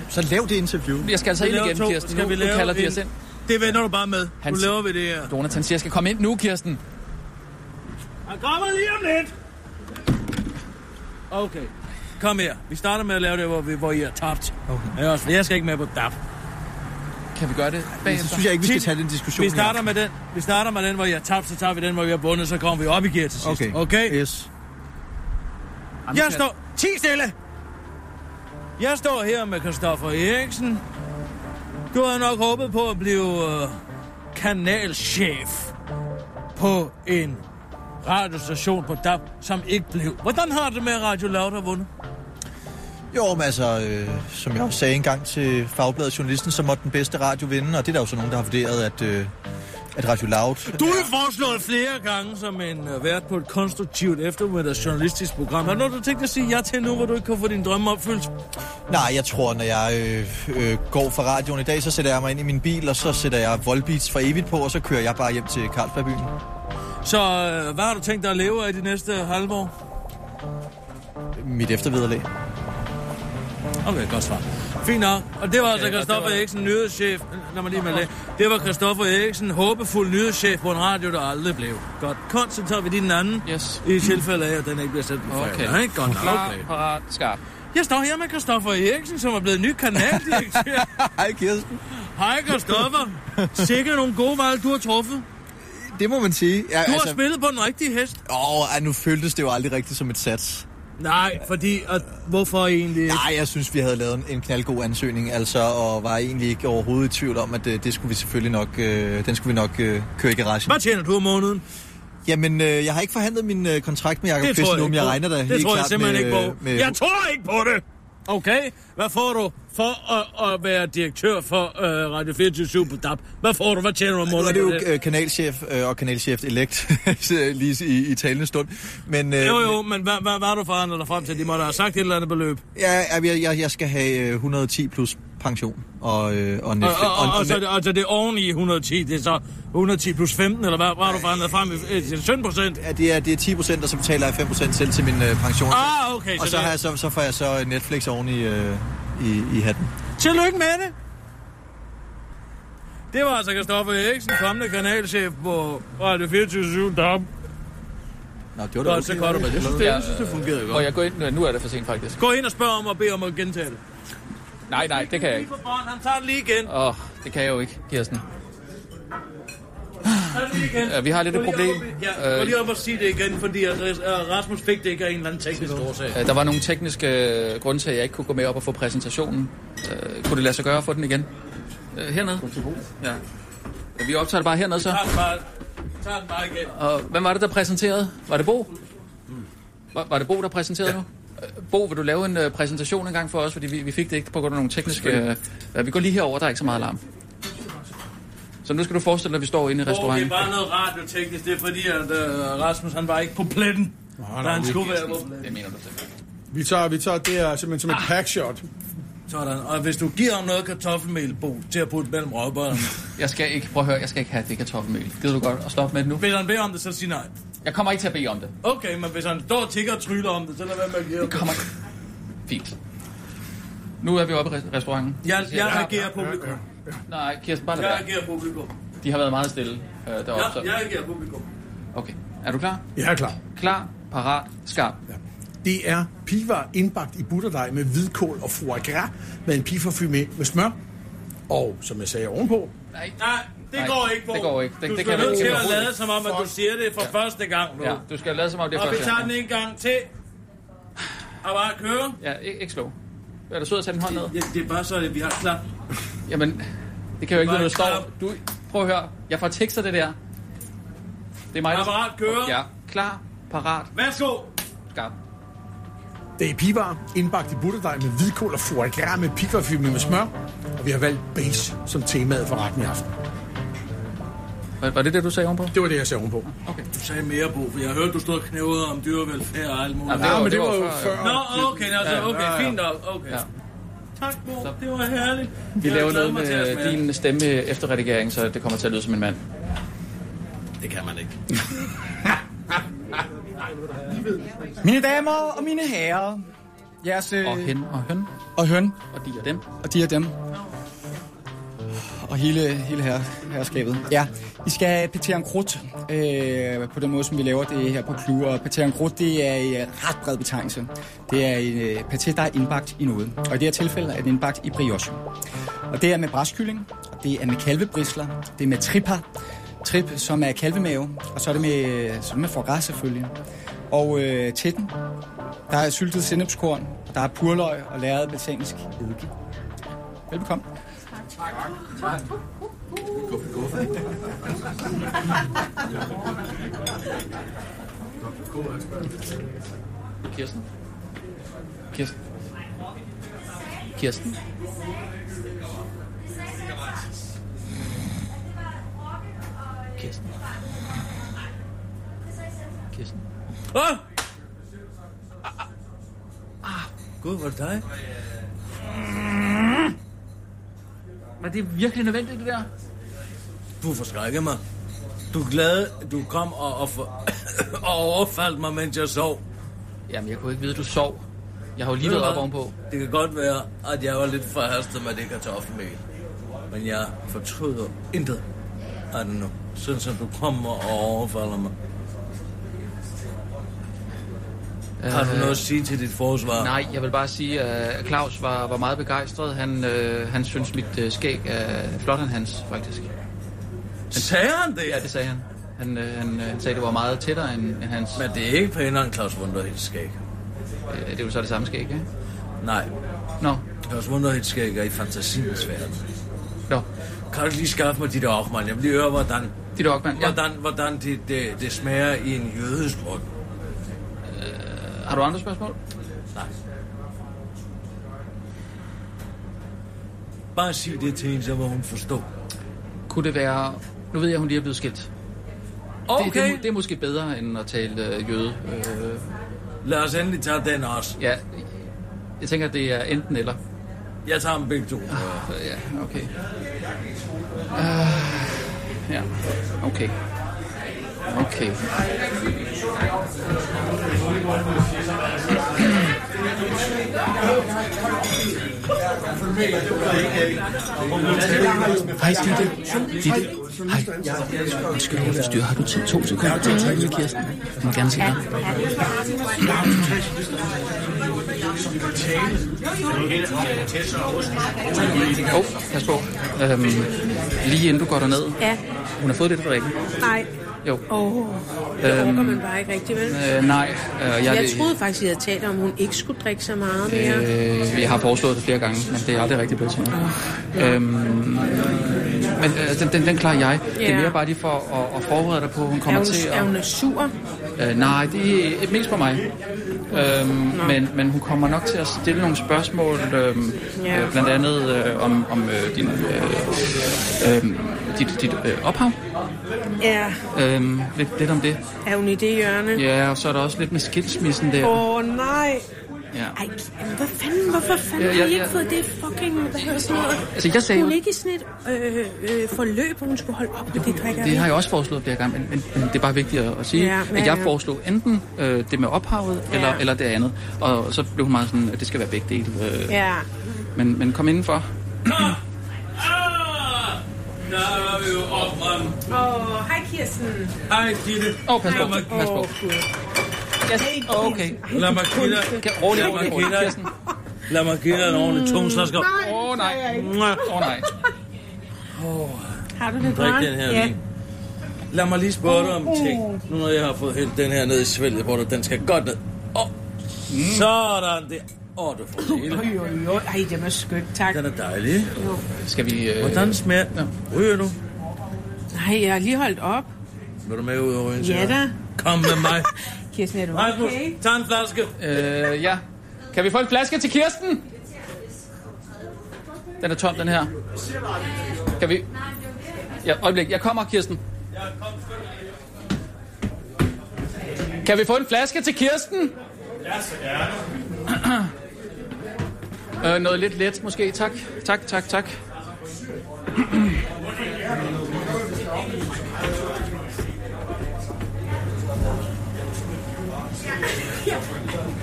Speaker 10: Så lav det interview.
Speaker 4: Jeg skal altså
Speaker 2: Vi
Speaker 4: ind
Speaker 2: laver
Speaker 4: igen,
Speaker 2: to.
Speaker 4: Kirsten. Nu- nu
Speaker 2: lave
Speaker 4: kalder de os ind.
Speaker 2: Det vender du bare med. Nu laver vi det her.
Speaker 4: Jonathan siger, jeg skal komme ind nu, Kirsten.
Speaker 7: Han kommer lige om lidt.
Speaker 2: Okay. Kom her. Vi starter med at lave det, hvor, vi, hvor I er tabt. Okay. Jeg, også, jeg skal ikke med på DAP.
Speaker 4: Kan vi gøre det bagefter?
Speaker 10: synes jeg ikke, vi skal tage den diskussion
Speaker 2: Vi starter
Speaker 10: her.
Speaker 2: med den, vi starter med den hvor I er tabt, så tager vi den, hvor vi er bundet, så kommer vi op i gear til sidst.
Speaker 10: Okay.
Speaker 2: okay?
Speaker 10: Yes.
Speaker 2: Jeg står... Ti stille! Jeg står her med Christoffer Eriksen. Du havde nok håbet på at blive øh, kanalchef på en radiostation på DAB, som ikke blev. Hvordan har du det med at Radio Loud har vundet?
Speaker 10: Jo, men altså, øh, som jeg også sagde engang til Fagbladet Journalisten, så måtte den bedste radio vinde, og det er der jo så nogen, der har vurderet, at, øh, at Radio Loud
Speaker 2: Du har foreslået flere gange som en øh, vært på et konstruktivt eftermiddags journalistisk program. Har du noget, du tænkt at sige ja til nu, hvor du ikke kan få din drømme opfyldt?
Speaker 10: Nej, jeg tror, når jeg øh, øh, går fra radioen i dag, så sætter jeg mig ind i min bil, og så sætter jeg Volbeats for evigt på, og så kører jeg bare hjem til Carlsbergbyen.
Speaker 2: Så øh, hvad har du tænkt dig at leve af de næste halve år?
Speaker 10: Mit eftervederlag.
Speaker 2: Okay, godt svar. Fint nok. Og det var altså
Speaker 10: og det
Speaker 2: Christoffer
Speaker 10: var-
Speaker 2: Eriksen, nyhedschef. Lad mig lige med det. Det var Christoffer Eriksen, håbefuld nyhedschef på en radio, der aldrig blev. Godt. Kont, så tager vi din anden.
Speaker 4: Yes.
Speaker 2: I tilfælde af, at den ikke bliver sendt på fredag.
Speaker 4: Okay.
Speaker 2: Ikke? Godt nok.
Speaker 4: Klar,
Speaker 2: Okay.
Speaker 4: parat, skarp.
Speaker 2: Jeg står her med Christoffer Eriksen, som er blevet ny kanaldirektør.
Speaker 10: Hej, Kirsten.
Speaker 2: Hej, Christoffer. Sikkert nogle gode valg, du har truffet.
Speaker 10: Det må man sige. Ja, altså-
Speaker 2: Du har spillet på den rigtige hest.
Speaker 10: Åh, ej, nu føltes det jo aldrig rigtigt som et sats.
Speaker 2: Nej, fordi... At, hvorfor egentlig ikke?
Speaker 10: Nej, jeg synes, vi havde lavet en, en knaldgod ansøgning, altså, og var egentlig ikke overhovedet i tvivl om, at øh, det skulle vi selvfølgelig nok, øh, den skulle vi nok øh, køre i garagen.
Speaker 2: Hvad tjener du om måneden?
Speaker 10: Jamen, øh, jeg har ikke forhandlet min øh, kontrakt med Jacob
Speaker 2: Det tror
Speaker 10: Kvist
Speaker 2: jeg
Speaker 10: nu,
Speaker 2: ikke
Speaker 10: men jeg
Speaker 2: på.
Speaker 10: regner da
Speaker 2: Det
Speaker 10: helt
Speaker 2: tror jeg
Speaker 10: klart
Speaker 2: simpelthen
Speaker 10: med, øh,
Speaker 2: ikke på.
Speaker 10: med
Speaker 2: Jeg tror ikke på det! Okay, hvad får du for at, at være direktør for øh, Radio 24 på DAB? Hvad får du? Hvad tjener du om
Speaker 10: Nu er
Speaker 2: måneden?
Speaker 10: det jo
Speaker 2: på
Speaker 10: øh, kanalchef øh, og kanalchef elect lige i, i talende stund. Men, øh,
Speaker 2: Jo, jo, men hvad, hvad, hvad har du forhandlet dig frem til? De må da have sagt et eller andet beløb.
Speaker 10: Ja, jeg, jeg, jeg skal have øh, 110 plus pension og, øh, og,
Speaker 2: Og,
Speaker 10: Netflix.
Speaker 2: og, og, og, så, er det- og så er det oven i 110, det er så 110 plus 15, eller hvad, hvad har du forhandlet frem i- til 17 procent?
Speaker 10: Ja, det er, det er 10 procent, og så betaler jeg 5 procent selv til min øh, pension.
Speaker 2: Ah, okay,
Speaker 10: og
Speaker 2: så
Speaker 10: så,
Speaker 2: det-
Speaker 10: har jeg, så, så får jeg så Netflix oven i, øh, i, i hatten.
Speaker 2: Tillykke med det! Det var altså Kristoffer Eriksen, kommende kanalchef på Radio 24
Speaker 10: Nå,
Speaker 2: DAB.
Speaker 10: det var
Speaker 2: Godt, så godt, men jeg synes, det- jeg synes, det fungerede godt.
Speaker 4: Og jeg går ind, nu- nu er det for sent faktisk.
Speaker 2: Gå ind og spørg om og bed om at gentage det.
Speaker 4: Nej, nej, det kan jeg ikke.
Speaker 2: Han tager det lige igen.
Speaker 4: Åh, det kan jeg jo ikke, Kirsten.
Speaker 2: Tager det lige igen.
Speaker 4: Ja, vi har lidt et
Speaker 2: Gå lige
Speaker 4: problem. Øh.
Speaker 2: op- Ja, gå lige op og sige det igen, fordi at, øh, Rasmus fik det ikke af en eller anden teknisk årsag.
Speaker 4: Øh, Der var nogle tekniske øh, grunde til, at jeg ikke kunne gå med op og få præsentationen. Øh, Kunne det lade sig gøre at få den igen? Øh, Hernede? Ja. Vi optager det bare hernede så.
Speaker 2: Tag den bare, tag den bare igen.
Speaker 4: Og hvem var det, der præsenterede? Var det Bo? Var, var det Bo, der præsenterede ja. nu? Øh, Bo, vil du lave en uh, præsentation engang for os? Fordi vi, vi fik det ikke på grund af nogle tekniske... Uh, vi går lige herover, der er ikke så meget larm. Så nu skal du forestille dig, at vi står inde i
Speaker 2: Åh, det er
Speaker 4: restauranten.
Speaker 2: bare noget radioteknisk, det er fordi, at øh, Rasmus han var ikke på pletten. Da
Speaker 5: nej,
Speaker 2: han
Speaker 5: det er
Speaker 2: skulle være
Speaker 5: Kirsten.
Speaker 2: på pletten.
Speaker 4: Det mener du
Speaker 5: Vi tager, vi tager det her simpelthen som et packshot.
Speaker 2: Sådan. Og hvis du giver ham noget kartoffelmel, Bo, til at putte mellem råbørnene.
Speaker 4: Jeg skal ikke, prøv at høre, jeg skal ikke have det kartoffelmel. Gider du godt at stoppe med det nu?
Speaker 2: Hvis han beder om det, så sig nej.
Speaker 4: Jeg kommer ikke til at bede om det.
Speaker 2: Okay, men hvis han står og tigger og tryller om det, så lad være med at give det.
Speaker 4: kommer Fint. Nu er vi oppe i res- restauranten.
Speaker 2: Jeg,
Speaker 4: Siger
Speaker 2: jeg reagerer publikum.
Speaker 4: Nej, Kirsten, bare lad
Speaker 2: Jeg
Speaker 4: være.
Speaker 2: reagerer publikum.
Speaker 4: De har været meget stille øh, deroppe.
Speaker 2: Jeg,
Speaker 4: så-
Speaker 2: jeg reagerer publikum.
Speaker 4: Okay. Er du klar?
Speaker 5: Jeg er klar.
Speaker 4: Klar, parat, skarp. Ja.
Speaker 5: Det er pivar indbagt i butterdej med hvidkål og foie gras med en pifarfumé med smør. Og som jeg sagde ovenpå,
Speaker 4: Nej,
Speaker 2: nej, det
Speaker 4: Nej,
Speaker 2: går ikke, Bo.
Speaker 4: det går ikke. Det-
Speaker 2: du
Speaker 4: det
Speaker 2: skal
Speaker 4: kan jeg
Speaker 2: nødt
Speaker 4: ikke.
Speaker 2: til
Speaker 4: Jeg
Speaker 2: at
Speaker 4: kan
Speaker 2: lade
Speaker 4: overhovedet-
Speaker 2: som om, at du siger det for første gang nu.
Speaker 4: ja. Du skal lade som om det er
Speaker 2: Og vi
Speaker 4: første
Speaker 2: tager den
Speaker 4: gang.
Speaker 2: en gang til. Og bare køre.
Speaker 4: Ja, ikke, ikke slå. Er du sød at tage din hånd ned?
Speaker 2: Det, det er bare så, at vi har klart.
Speaker 4: Jamen, det kan jo ikke
Speaker 2: Bare
Speaker 4: være, du står. Du, prøv at høre. Jeg får tekster det der. Det er mig, der...
Speaker 2: Apparat, kører.
Speaker 4: Ja, klar, parat,
Speaker 2: Værsgo.
Speaker 4: skarp.
Speaker 5: Det er pivar indbagt i butterdej med hvidkål og foie gras med pifarfumé med smør. Og vi har valgt beige som temaet for retten i aften.
Speaker 4: Var, var det det, du sagde ovenpå?
Speaker 5: Det var det, jeg sagde ovenpå.
Speaker 2: Du sagde mere, Bo, for jeg hørte, du stod og knævede om dyrevelfærd og alt muligt.
Speaker 5: Jamen, det var- Ja, men det det var var jo før, før.
Speaker 2: Nå, okay, nå, så,
Speaker 4: Ja,
Speaker 2: okay,
Speaker 4: ja, ja.
Speaker 2: fint nok. Okay.
Speaker 4: Ja.
Speaker 2: Tak, Bo. Det var herligt.
Speaker 4: Vi
Speaker 2: Jeg
Speaker 4: laver
Speaker 2: glæder
Speaker 4: noget
Speaker 2: mig til at
Speaker 4: med
Speaker 2: smage.
Speaker 4: din stemme efter redigering, så det kommer til at lyde som en mand.
Speaker 2: Det kan man ikke.
Speaker 6: Mine damer og mine herrer. Jeres, øh,
Speaker 4: Og hen og høn.
Speaker 6: Og høn.
Speaker 4: Og de og dem.
Speaker 6: Og de og dem. Og hele, hele her, herskabet. Ja, I skal have paté en croûte, øh, på den måde, som vi laver det her på Clou. Og paté en croûte, det er en øh, ret bred betegnelse. Det er en øh, paté, der er indbagt i noget. Og i det her tilfælde er den indbagt i brioche. Og det er med bræskylling, og det er med kalvebrisler, det er med tripa, trip, som er kalvemave, og så er det med, så er det med foie gras selvfølgelig. Og øh, til den, der er syltet sennepskorn, der er purløg og læret balsamisk eddike. Velbekomme.
Speaker 4: Kirsten. Kirsten. Kirsten. Kirsten. Kirsten.
Speaker 2: Åh! Ah! Ah, Gud, var det dig?
Speaker 4: Var det virkelig nødvendigt, det der?
Speaker 2: Du forskrækker mig. Du er glad, du kom og, og, for, og overfaldt mig, mens jeg sov.
Speaker 4: Jamen, jeg kunne ikke vide, du sov. Jeg har jo lige været op ovenpå.
Speaker 2: Det kan godt være, at jeg var lidt forhastet med det kartoffelmel. Men jeg fortryder intet af det nu. Sådan som du kommer og overfalder mig. Har du
Speaker 4: Øh,
Speaker 2: noget at sige til dit forsvar?
Speaker 4: Nej, jeg vil bare sige, at Claus var, var meget begejstret. Han, øh, han synes, mit øh, skæg er flot end hans, faktisk.
Speaker 2: Sagde han det?
Speaker 4: Ja, det sagde han. Han, øh, han, øh, han sagde, at det var meget tættere end, end hans.
Speaker 2: Men det er ikke pænere end Claus Wunderhits skæg.
Speaker 4: Øh, det er jo så det samme skæg, ikke?
Speaker 2: Nej.
Speaker 4: Nå.
Speaker 2: Claus Wunderhits skæg er i fantasiens verden.
Speaker 4: Nå.
Speaker 2: Kan du ikke lige skaffe mig dit Ochmann? Jeg vil lige høre, hvordan...
Speaker 4: Dit Ochmann,
Speaker 2: ja. Hvordan, hvordan det, det, det smager i en jødisk mund.
Speaker 4: Har du andre spørgsmål?
Speaker 2: Nej. Bare sig det til hende, så må hun forstå.
Speaker 4: Kunne det være... Nu ved jeg, at hun lige er blevet skilt. Det, det, er
Speaker 2: Okay.
Speaker 4: mu- det er måske bedre, end at tale øh, jøde. Øh,
Speaker 2: Lad os endelig tage den også.
Speaker 4: ja, jeg tænker, det er enten eller.
Speaker 2: Jeg tager dem begge to.
Speaker 4: Ja, okay. Ah, Ja, okay. Okay.
Speaker 13: Hej, Ditte. Ditte. Hej. Undskyld, jeg forstyrrer. Har du tid? To sekunder til at tale med Kirsten? Jeg må gerne se dig.
Speaker 4: Åh, oh, pas på. Øhm, lige inden du går derned.
Speaker 14: Ja.
Speaker 4: Hun har fået det, Frederikke.
Speaker 14: Nej.
Speaker 4: Jo.
Speaker 14: Åh, oh, det
Speaker 4: Øhm,
Speaker 14: øhm, man bare ikke rigtigt, vel?
Speaker 4: Øh, nej, øh, jeg,
Speaker 14: jeg, jeg troede faktisk, I havde talt om, at hun ikke skulle drikke så meget mere. Øh,
Speaker 4: Øh, jeg har foreslået det flere gange, men det er aldrig rigtig blevet til noget. Øhm, men øh, den, den, den klarer jeg. Det er
Speaker 14: Ja.
Speaker 4: mere bare lige for at, at forberede dig på, at hun
Speaker 14: er,
Speaker 4: kommer
Speaker 14: hun,
Speaker 4: til at...
Speaker 14: er hun sur?
Speaker 4: Øh, nej, det er mest på mig. Øhm, men, men hun kommer nok til at stille nogle spørgsmål, øhm,
Speaker 14: Ja.
Speaker 4: øh, blandt andet øh, om, om øh, din, øh, øh, dit, dit øh, ophav.
Speaker 14: Ja,
Speaker 4: Øhm, lidt, lidt om det.
Speaker 14: er hun i det hjørne?
Speaker 4: Ja, og så er der også lidt med skilsmissen der.
Speaker 14: Åh, oh, nej.
Speaker 4: Ja.
Speaker 14: Ej, jamen, hvad fanden, hvorfor fanden
Speaker 4: Ja, ja,
Speaker 14: ja, ja, har I ikke
Speaker 4: ja.
Speaker 14: fået det fucking, hvad hedder sådan noget?
Speaker 4: Altså, jeg sagde
Speaker 14: Hun
Speaker 4: jo-
Speaker 14: ikke i sådan et øh, øh, forløb, hvor hun skulle holde op med det drikker.
Speaker 4: Det har jeg også foreslået flere gange, men, men, men det er bare vigtigt at, at sige,
Speaker 14: Ja,
Speaker 4: ja,
Speaker 14: ja,
Speaker 4: at jeg
Speaker 14: ja.
Speaker 4: foreslog enten øh, det med ophavet, ja.
Speaker 14: Ja.
Speaker 4: eller, eller det andet. Og så blev hun meget sådan, at det skal være begge dele. Øh,
Speaker 14: Ja.
Speaker 4: men, men kom indenfor.
Speaker 2: Der var vi jo op, mand.
Speaker 14: Åh, oh, hej Kirsten.
Speaker 2: Hej, Gitte.
Speaker 4: Åh, oh, pas på, pas på.
Speaker 14: Jeg skal ikke... Okay.
Speaker 2: Lad mig give dig...
Speaker 4: rolig,
Speaker 2: Lad mig
Speaker 4: rolig,
Speaker 2: give dig... Lad mig give dig en ordentlig tung slasker.
Speaker 4: Åh oh, nej. Åh oh, nej.
Speaker 14: Har du det
Speaker 2: Drik
Speaker 14: godt?
Speaker 2: den her vin. Lad mig lige spørge dig om en ting.
Speaker 14: Oh.
Speaker 2: Nu når jeg har fået hældt den her ned i svælget, hvor den skal godt ned. Åh,
Speaker 14: Mm.
Speaker 2: sådan det. Åh, du får det hele.
Speaker 14: Oj, oj, oj. Ej, det var skønt, tak.
Speaker 2: Den er dejlig.
Speaker 4: Skal vi... Øh...
Speaker 2: Hvordan smager den? Ryger du?
Speaker 14: Nej, jeg har lige holdt op.
Speaker 2: Vil du med ud og ryge en
Speaker 14: Ja
Speaker 2: cigaret?
Speaker 14: da.
Speaker 2: Kom med mig.
Speaker 14: Kirsten, er du
Speaker 2: Rasmus,
Speaker 14: okay?
Speaker 2: tag en flaske.
Speaker 4: Øh, ja. Kan vi få en flaske til Kirsten? Den er tom, den her. Kan vi... Ja, øjeblik. Jeg kommer, Kirsten. Kan vi få en flaske til Kirsten?
Speaker 7: Ja, så gerne.
Speaker 4: Øh, noget lidt let, måske. Tak, tak, tak, tak.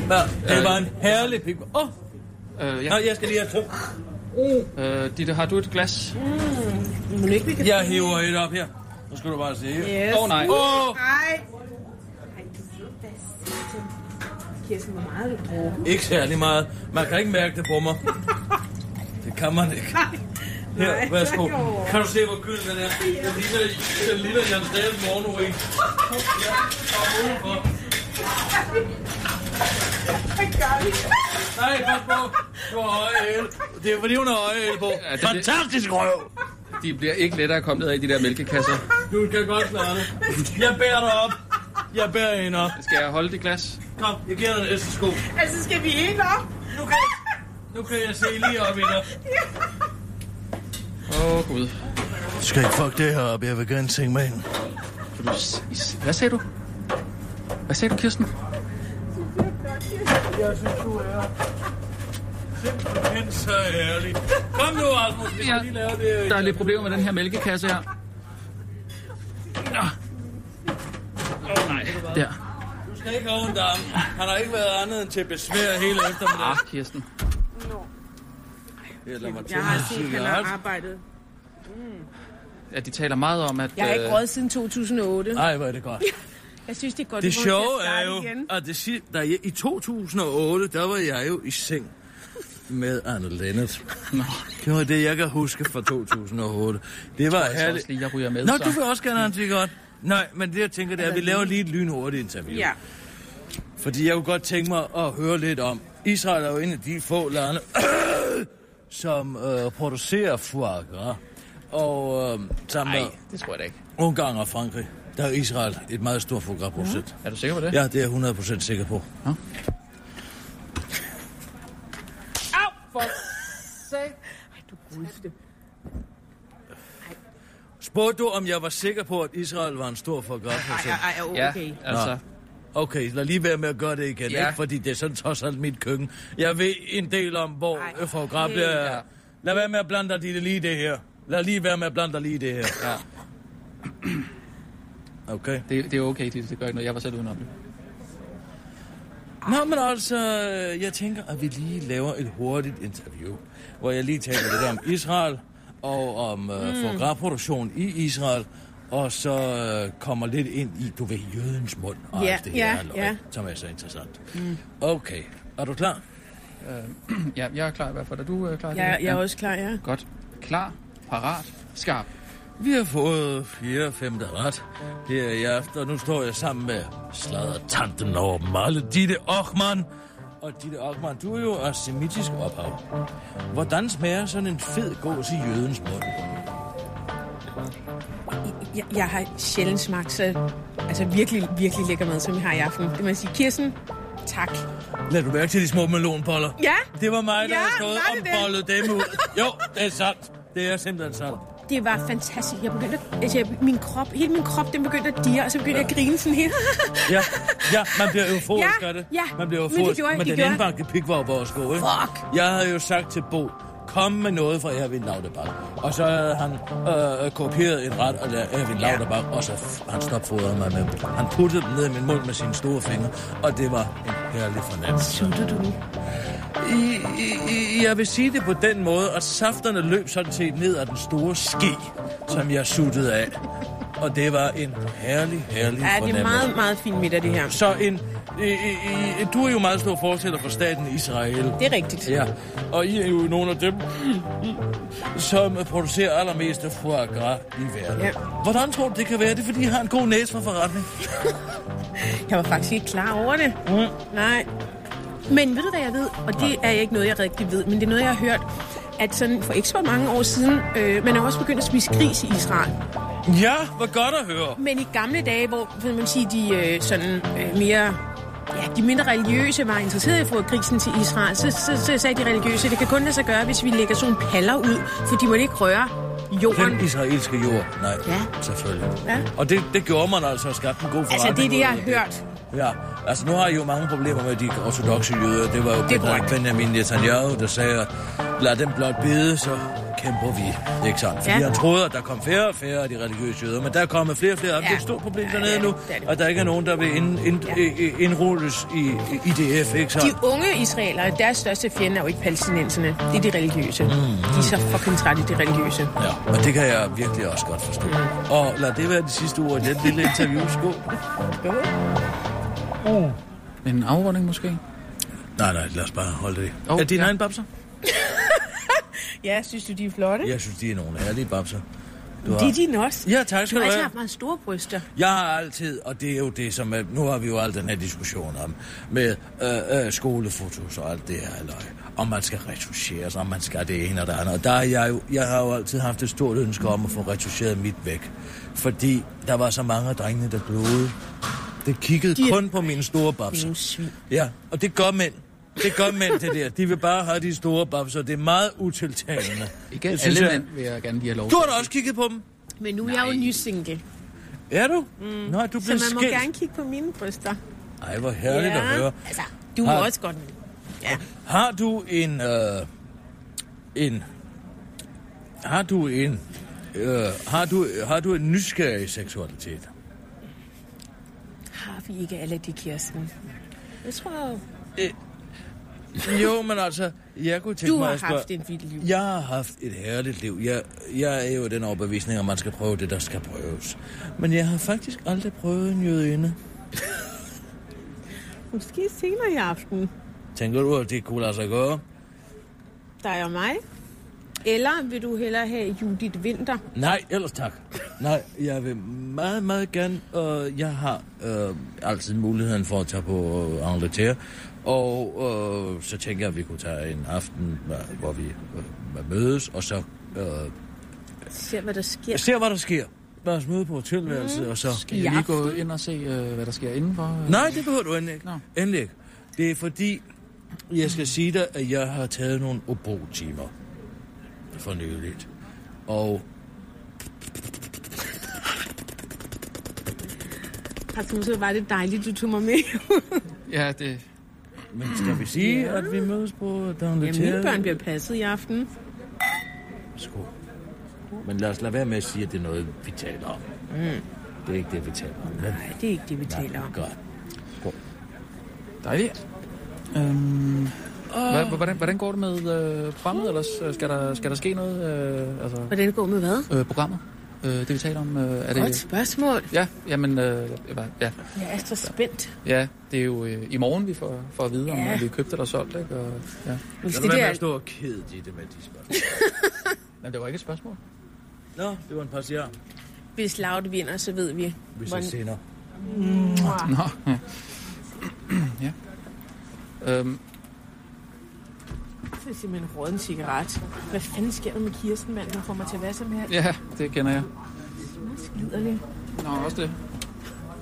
Speaker 2: Hvad? Det var en herlig pik. Åh,
Speaker 4: Øh, ja.
Speaker 2: nej, jeg skal lige have to.
Speaker 4: Øh, Ditte, har du et glas?
Speaker 14: Mm, men ikke, vi kan...
Speaker 2: Jeg hiver et op her. Så skal du bare se.
Speaker 14: Yes.
Speaker 4: Åh, nej.
Speaker 2: Åh,
Speaker 14: Nej. Kirsten, hvor meget har du drukket?
Speaker 2: Ikke særlig meget. Man kan ikke mærke det på mig. Det kan man ikke. Her, værsgo. Kan du se, hvor gylden den er? Den ligner, den ligner Jan Dahl morgenring. Nej, pas på. Du har høje hæl. Det er fordi, hun har høje hæl på.
Speaker 4: det-
Speaker 2: Fantastisk røv.
Speaker 4: De bliver ikke lettere at komme ned af i de der mælkekasser.
Speaker 2: Du kan godt klare det. Jeg bærer dig op. Jeg bærer hende op.
Speaker 4: Skal jeg holde det glas?
Speaker 2: Kom, jeg giver dig en æstesko.
Speaker 14: Altså, skal vi helt op?
Speaker 2: Nu kan, nu kan jeg se lige op i dig.
Speaker 4: Åh, oh, Gud.
Speaker 15: Du skal ikke fuck det her op. Jeg vil gerne tænke med hende.
Speaker 4: Kan du s- is- Hvad sagde du? Hvad sagde du, Kirsten?
Speaker 2: Jeg synes, du er simpelthen så ærlig. Kom nu, Rasmus. Vi skal lige lave det.
Speaker 4: Der er lidt problemer med den her mælkekasse her. Nå. Åh, nej. Der.
Speaker 2: Du skal ikke have ondt af ham. Han har ikke været andet end til besvær hele eftermiddagen.
Speaker 4: Ah, Kirsten.
Speaker 2: Jeg lader mig tænde
Speaker 14: Jeg har
Speaker 2: en
Speaker 14: set, han
Speaker 2: cigaret.
Speaker 14: har arbejdet.
Speaker 4: Ja, de taler meget om, at...
Speaker 14: Jeg har ikke
Speaker 4: øh,
Speaker 14: råd siden 2008.
Speaker 2: Ej, hvor er det godt.
Speaker 14: Jeg synes, det er godt,
Speaker 2: Det
Speaker 14: du får lov til
Speaker 2: sjove
Speaker 14: at
Speaker 2: er
Speaker 14: starte
Speaker 2: jo,
Speaker 14: igen.
Speaker 2: at det siger, der, jeg- i 2008, der var jeg jo i seng med Anne Lennart. Det var det, jeg kan huske fra 2008. Det var
Speaker 4: altså også
Speaker 2: herligt.
Speaker 4: lige, jeg ryger med,
Speaker 2: Nå,
Speaker 4: så.
Speaker 2: du vil også gerne have en cigaret. Nej, men det jeg tænker, det er, at vi laver lige et lynhurtigt interview.
Speaker 14: Ja.
Speaker 2: Fordi jeg kunne godt tænke mig at høre lidt om. Israel er jo en af de få lande, som øh, producerer foie gras. Og øh, sammen med
Speaker 4: Nej, det tror jeg da ikke.
Speaker 2: Ungarn og Frankrig, der er Israel et meget stort foie gras-producent.
Speaker 4: Er du sikker på det?
Speaker 2: Ja, det er jeg 100% sikker på.
Speaker 4: Au, for sag.
Speaker 2: Spurgte du, om jeg var sikker på, at Israel var en stor foie gras-producent?
Speaker 14: Ej, ej, ej, okay.
Speaker 4: Ja, altså.
Speaker 2: Okay, lad lige være med at gøre det igen,
Speaker 4: Ja.
Speaker 2: ja. ikke? Fordi det er sådan trods alt mit køkken. Jeg ved en del om, hvor øh, foie gras
Speaker 14: okay.
Speaker 2: bliver... Lad være med at blande dig i det lige det her. Lad lige være med at blande dig lige i det her.
Speaker 4: Ja.
Speaker 2: Okay.
Speaker 4: Det, det er okay, det, det gør ikke noget. Jeg var selv udenom det.
Speaker 2: Nå, men altså, jeg tænker, at vi lige laver et hurtigt interview, hvor jeg lige taler lidt om Israel og om øh, mm. foie gras-produktion i Israel, og så øh, kommer lidt ind i, du ved, jødens mund og
Speaker 14: Ja,
Speaker 2: alt det
Speaker 14: ja,
Speaker 2: her, halløj,
Speaker 14: ja.
Speaker 2: som er så interessant.
Speaker 14: Mm.
Speaker 2: Okay, er du klar?
Speaker 4: Øh, ja, jeg er klar i hvert fald. Er du øh, klar?
Speaker 14: Jeg, jeg er
Speaker 4: Ja.
Speaker 14: også klar, ja.
Speaker 4: Godt. Klar, parat, skarp.
Speaker 2: Vi har fået fire femte ret her i aften, og nu står jeg sammen med sladdertanten over dem alle, Ditte Ochmann. Og Ditte Ochmann, du er jo af semitisk ophav. Hvordan smager sådan en fed gås i jødens mund?
Speaker 14: Jeg, jeg har sjældent smagt så altså virkelig, virkelig lækker mad, som jeg har i aften. Det må jeg sige. Kirsten, tak.
Speaker 2: Lad du mærke til de små melonboller?
Speaker 14: Ja.
Speaker 2: Det var mig, der
Speaker 14: Ja,
Speaker 2: har stået
Speaker 14: var
Speaker 2: og
Speaker 14: det det?
Speaker 2: bollet dem ud. Jo, det er sandt. Det er simpelthen sandt.
Speaker 14: det var fantastisk. Jeg begyndte at, altså, jeg, min krop, hele min krop, den begyndte at dire, og så begyndte jeg at grine sådan helt.
Speaker 2: Ja, ja, man bliver euforisk
Speaker 14: Ja,
Speaker 2: af det.
Speaker 14: ja,
Speaker 2: man bliver
Speaker 14: men det
Speaker 2: euforisk.
Speaker 14: gjorde jeg,
Speaker 2: men
Speaker 14: det
Speaker 2: den
Speaker 14: gjorde jeg.
Speaker 2: indbagte pik var jo vores gode, ikke?
Speaker 14: Fuck!
Speaker 2: Jeg havde jo sagt til Bo, kom med noget fra Erwin Lauterbach. Og så havde han øh, kopieret en ret af Erwin Lauterbach, og så f- han stopfodrede mig med dem. Han puttede dem ned i min mund med sine store fingre, og det var en herlig fornemmelse. Sluttede du nu? I, I, I- jeg vil sige det på den måde, at safterne løb sådan set ned af den store ske, som jeg suttede af. Og det var en herlig, herlig
Speaker 14: Ja, det
Speaker 2: fornemmelse.
Speaker 14: er meget, meget fin middag, det her.
Speaker 2: Så en, i, i, i, du er jo meget stor fortæller for staten Israel.
Speaker 14: Det er rigtigt.
Speaker 2: Ja, og I er jo nogle af dem, som producerer allermest af foie gras i verden.
Speaker 14: Ja.
Speaker 2: Ja. Hvordan tror du, det kan være? Det er, fordi I har en god næse for forretning.
Speaker 14: Jeg var faktisk ikke klar over det. Mm. Nej. Men ved du, hvad jeg ved? Og det er ikke noget, jeg rigtig ved, men det er noget, jeg har hørt, at sådan for ikke så mange år siden, øh, man er også begyndt at spise gris i Israel.
Speaker 2: Ja, hvor godt at høre.
Speaker 14: Men i gamle dage, hvor vil man sige, de øh, sådan øh, mere ja, de mindre religiøse var interesserede i at få grisen til Israel, så, så, så sagde de religiøse, det kan kun lade sig gøre, hvis vi lægger sådan nogle paller ud, for de må ikke røre jorden.
Speaker 2: Den israelske jord, nej, ja. selvfølgelig.
Speaker 14: Ja.
Speaker 2: Og det, det gjorde man altså og skabte en god forretning.
Speaker 14: Altså, det er det, jeg
Speaker 2: ud
Speaker 14: har
Speaker 2: af
Speaker 14: hørt.
Speaker 2: Ja, altså nu har I jo mange problemer med de ortodoxe jøder. Det var jo
Speaker 14: Det er korrekt.
Speaker 2: Benjamin Netanyahu, der sagde, at lad dem blot bide, så kæmper vi. Ikke sandt? Fordi
Speaker 14: Ja.
Speaker 2: ja. han troede, at der kom færre og færre af de religiøse jøder, men der er kommet flere og flere. Ja. Det er et stort problem dernede nu, og der ikke er nogen, der vil ind, ind, ja. indrulles i, i DF, ikke sandt?
Speaker 14: De unge israelere, deres største fjende er jo ikke palæstinenserne. Det er de religiøse. Mm, De er så fucking trætte, de religiøse.
Speaker 2: Ja, og det kan jeg virkelig også godt forstå.
Speaker 14: Mm.
Speaker 2: Og lad det være det sidste ord i den lille interview. Skål.
Speaker 4: En afrunding måske?
Speaker 2: Nej, nej, lad os bare holde det.
Speaker 4: Oh,
Speaker 2: er dine ja. egne babser?
Speaker 14: Ja, synes du, de er flotte?
Speaker 2: Jeg synes, de er nogle herlige babser.
Speaker 14: Du har... Det er dine også.
Speaker 2: Ja, tak
Speaker 14: du
Speaker 2: skal du
Speaker 14: har altid
Speaker 2: have.
Speaker 14: haft meget store bryster.
Speaker 2: Jeg har altid, og det er jo det, som... Er, nu har vi jo al den her diskussion om, med øh, øh, skolefotos og alt det her halløj. Om man skal retuscheres, om man skal det ene og det andet. Og der er jeg jo... Jeg har jo altid haft et stort ønske om at få retuscheret mit væk. Fordi der var så mange af drengene, der gloede. Det kiggede de... Mm. kun på mine store babser. Ja, og det gør mænd. Det gør mænd, det der. De vil bare have de store babser. Det er meget utiltalende.
Speaker 4: Ikke
Speaker 2: Det
Speaker 4: alle mænd vil jeg gerne lige have lov
Speaker 2: Du har da også kigget på dem.
Speaker 14: Men nu er jeg jo ny single.
Speaker 2: Er du? Mm. Nå, du
Speaker 14: Så man
Speaker 2: blev
Speaker 14: må
Speaker 2: skilt.
Speaker 14: gerne kigge på mine bryster.
Speaker 2: Ej, hvor herligt at høre.
Speaker 14: Altså, du må
Speaker 2: Har-
Speaker 14: også godt... Ja.
Speaker 2: Har du en... Øh, en... Har du en... Øh, har, du, har du en nysgerrig seksualitet?
Speaker 14: Har vi ikke alle de kirsten? Jeg tror...
Speaker 2: Jo, men altså, jeg kunne tænke
Speaker 14: Du
Speaker 2: mig
Speaker 14: har
Speaker 2: at spørge...
Speaker 14: haft en vild liv.
Speaker 2: Jeg har haft et herligt liv. Jeg, jeg er jo af den overbevisning, at man skal prøve det, der skal prøves. Men jeg har faktisk aldrig prøvet en jødeinde.
Speaker 14: Måske senere i aften.
Speaker 2: Tænker du, at det kunne lade sig gøre?
Speaker 14: Dig og mig. Eller vil du hellere have Judith Winter?
Speaker 2: Nej, ellers tak. Nej, jeg vil meget, meget gerne, og jeg har øh, altid muligheden for at tage på øh, Angleterre. Og øh, så tænker jeg, at vi kunne tage en aften, hva- hvor vi øh, mødes, og så øh,
Speaker 14: Se, hvad der sker.
Speaker 2: ser, hvad der sker. Lad os møde på tilværelset, mm. og så...
Speaker 4: Skal jeg lige gå ind og se, øh, hvad der sker indenfor? øh?
Speaker 2: Nej, det behøver du endelig ikke. Endelig ikke. Det er fordi, jeg skal sige dig, at jeg har taget nogle obo-timer for nyligt. Og
Speaker 14: Rasmus, hvor var det dejligt, du tog mig med.
Speaker 4: Ja, det...
Speaker 2: Men skal vi sige, ja. at vi mødes på
Speaker 14: Ja,
Speaker 2: Download
Speaker 14: mine børn bliver passet i aften.
Speaker 2: Skål. Men lad os lade være med at sige, at det er noget, vi taler om. Mm. Det er ikke det, vi taler om. Nej,
Speaker 14: det er ikke det, vi taler om.
Speaker 2: Godt. Skål.
Speaker 4: Dejligt. Øhm, hvad, hvordan, hvordan går det med øh, programmet ellers? Øh, Skal der, skal der ske noget? Øh, altså,
Speaker 14: Hvordan går med hvad?
Speaker 4: øh, programmet? Øh, det vi taler om, øh, er
Speaker 14: Godt
Speaker 4: det...
Speaker 14: spørgsmål.
Speaker 4: Ja, jamen, øh, jeg var- ja.
Speaker 14: Jeg er så spændt.
Speaker 4: ja, det er jo øh, i morgen, vi får, får at vide, om
Speaker 14: Ja.
Speaker 4: ja. vi købte eller solgte, ikke? Og, ja.
Speaker 14: Hvis det der...
Speaker 2: stå og kede i det med de spørgsmål.
Speaker 4: Men det var ikke et spørgsmål.
Speaker 2: Nå, det var en passier.
Speaker 14: Hvis Laut vinder, så ved vi.
Speaker 2: Hvis
Speaker 14: hvordan-
Speaker 2: jeg sender.
Speaker 14: Mwah.
Speaker 4: Nå. ja. Øhm,
Speaker 14: Det er simpelthen en råden cigaret. Hvad fanden sker der med Kirsten, mand? Hun får mig til hvad som helst.
Speaker 4: ja, det kender jeg.
Speaker 14: Lider det.
Speaker 4: Nå, også det.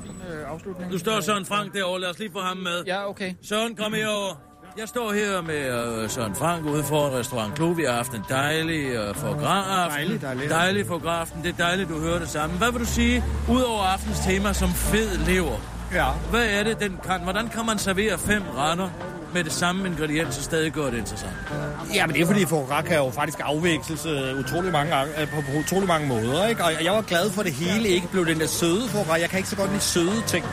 Speaker 4: Fin øh, afslutning.
Speaker 2: Nu står Søren Frank derovre. Lad os lige få ham med.
Speaker 4: Ja, okay.
Speaker 2: Søren, kom herover. Jeg står her med øh, Søren Frank ude foran restaurant Klo. Vi har haft en dejlig øh, forgraften.
Speaker 8: Dejlig, dejlig.
Speaker 2: Dejlig forgraften. Det er dejligt, du hører det samme. Hvad vil du sige, ud over aftens tema som fed lever?
Speaker 8: Ja.
Speaker 2: Hvad er det, den kan? Hvordan kan man servere fem retter med det samme ingrediens, så stadig gør det interessant?
Speaker 8: Ja, men det er fordi Fograk kan jo faktisk afveksles øh, utrolig mange, gange- øh, på, på utrolig mange måder. Ikke? Og jeg var glad for, at det hele ikke blev den der søde Fograk. Jeg kan ikke så godt lide søde ting.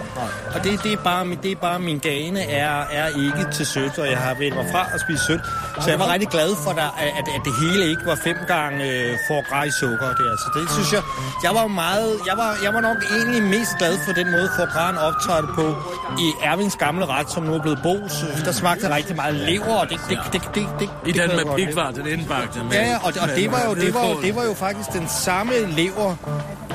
Speaker 8: Og det, det, er, bare, min- det er bare, min gane er, er ikke til sødt, og jeg har vendt mig fra at spise sødt. Så jeg var rigtig glad for, der, at, at det hele ikke var fem gange øh, Fograk i sukker. Der. Så det synes jeg, jeg var jo meget, jeg var, jeg var nok egentlig mest glad for den måde, Fograkken optrådte på i Ervins gamle ret, som nu er blevet Bos. Der smagte det rigtig meget lever, og det, det, det, det, det, det
Speaker 2: I
Speaker 8: det
Speaker 2: den
Speaker 8: kunne jeg
Speaker 2: med
Speaker 8: godt lide.
Speaker 2: pikvar, den indbagte. med-
Speaker 8: Ja, og, og
Speaker 2: med-
Speaker 8: det, var jo,
Speaker 2: med
Speaker 8: det, var jo,
Speaker 2: hvidkål.
Speaker 8: det var jo faktisk den samme lever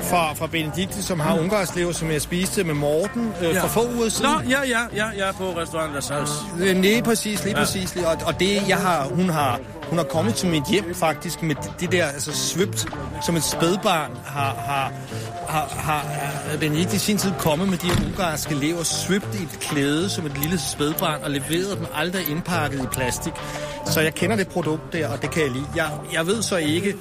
Speaker 8: fra, fra Benedikte, som har ungarsk lever, som jeg spiste med Morten øh, for få uger siden.
Speaker 2: Nå, ja, ja, ja, jeg er på restaurant La Salsa.
Speaker 8: Øh, Lige præcis, lige
Speaker 2: Ja.
Speaker 8: ja. præcis. lige- Og, og det, jeg har, hun har, hun har kommet til mit hjem faktisk med det- det der, altså svøbt som et spædbarn, har, har, har, har, har Benedikt i sin tid kommet med de her ungarske lever, svøbt i et klæde som et lille spædbarn, og leveret dem aldrig indpakket i plastik. Så jeg kender det produkt der, og det kan jeg lide. Jeg, jeg ved så ikke,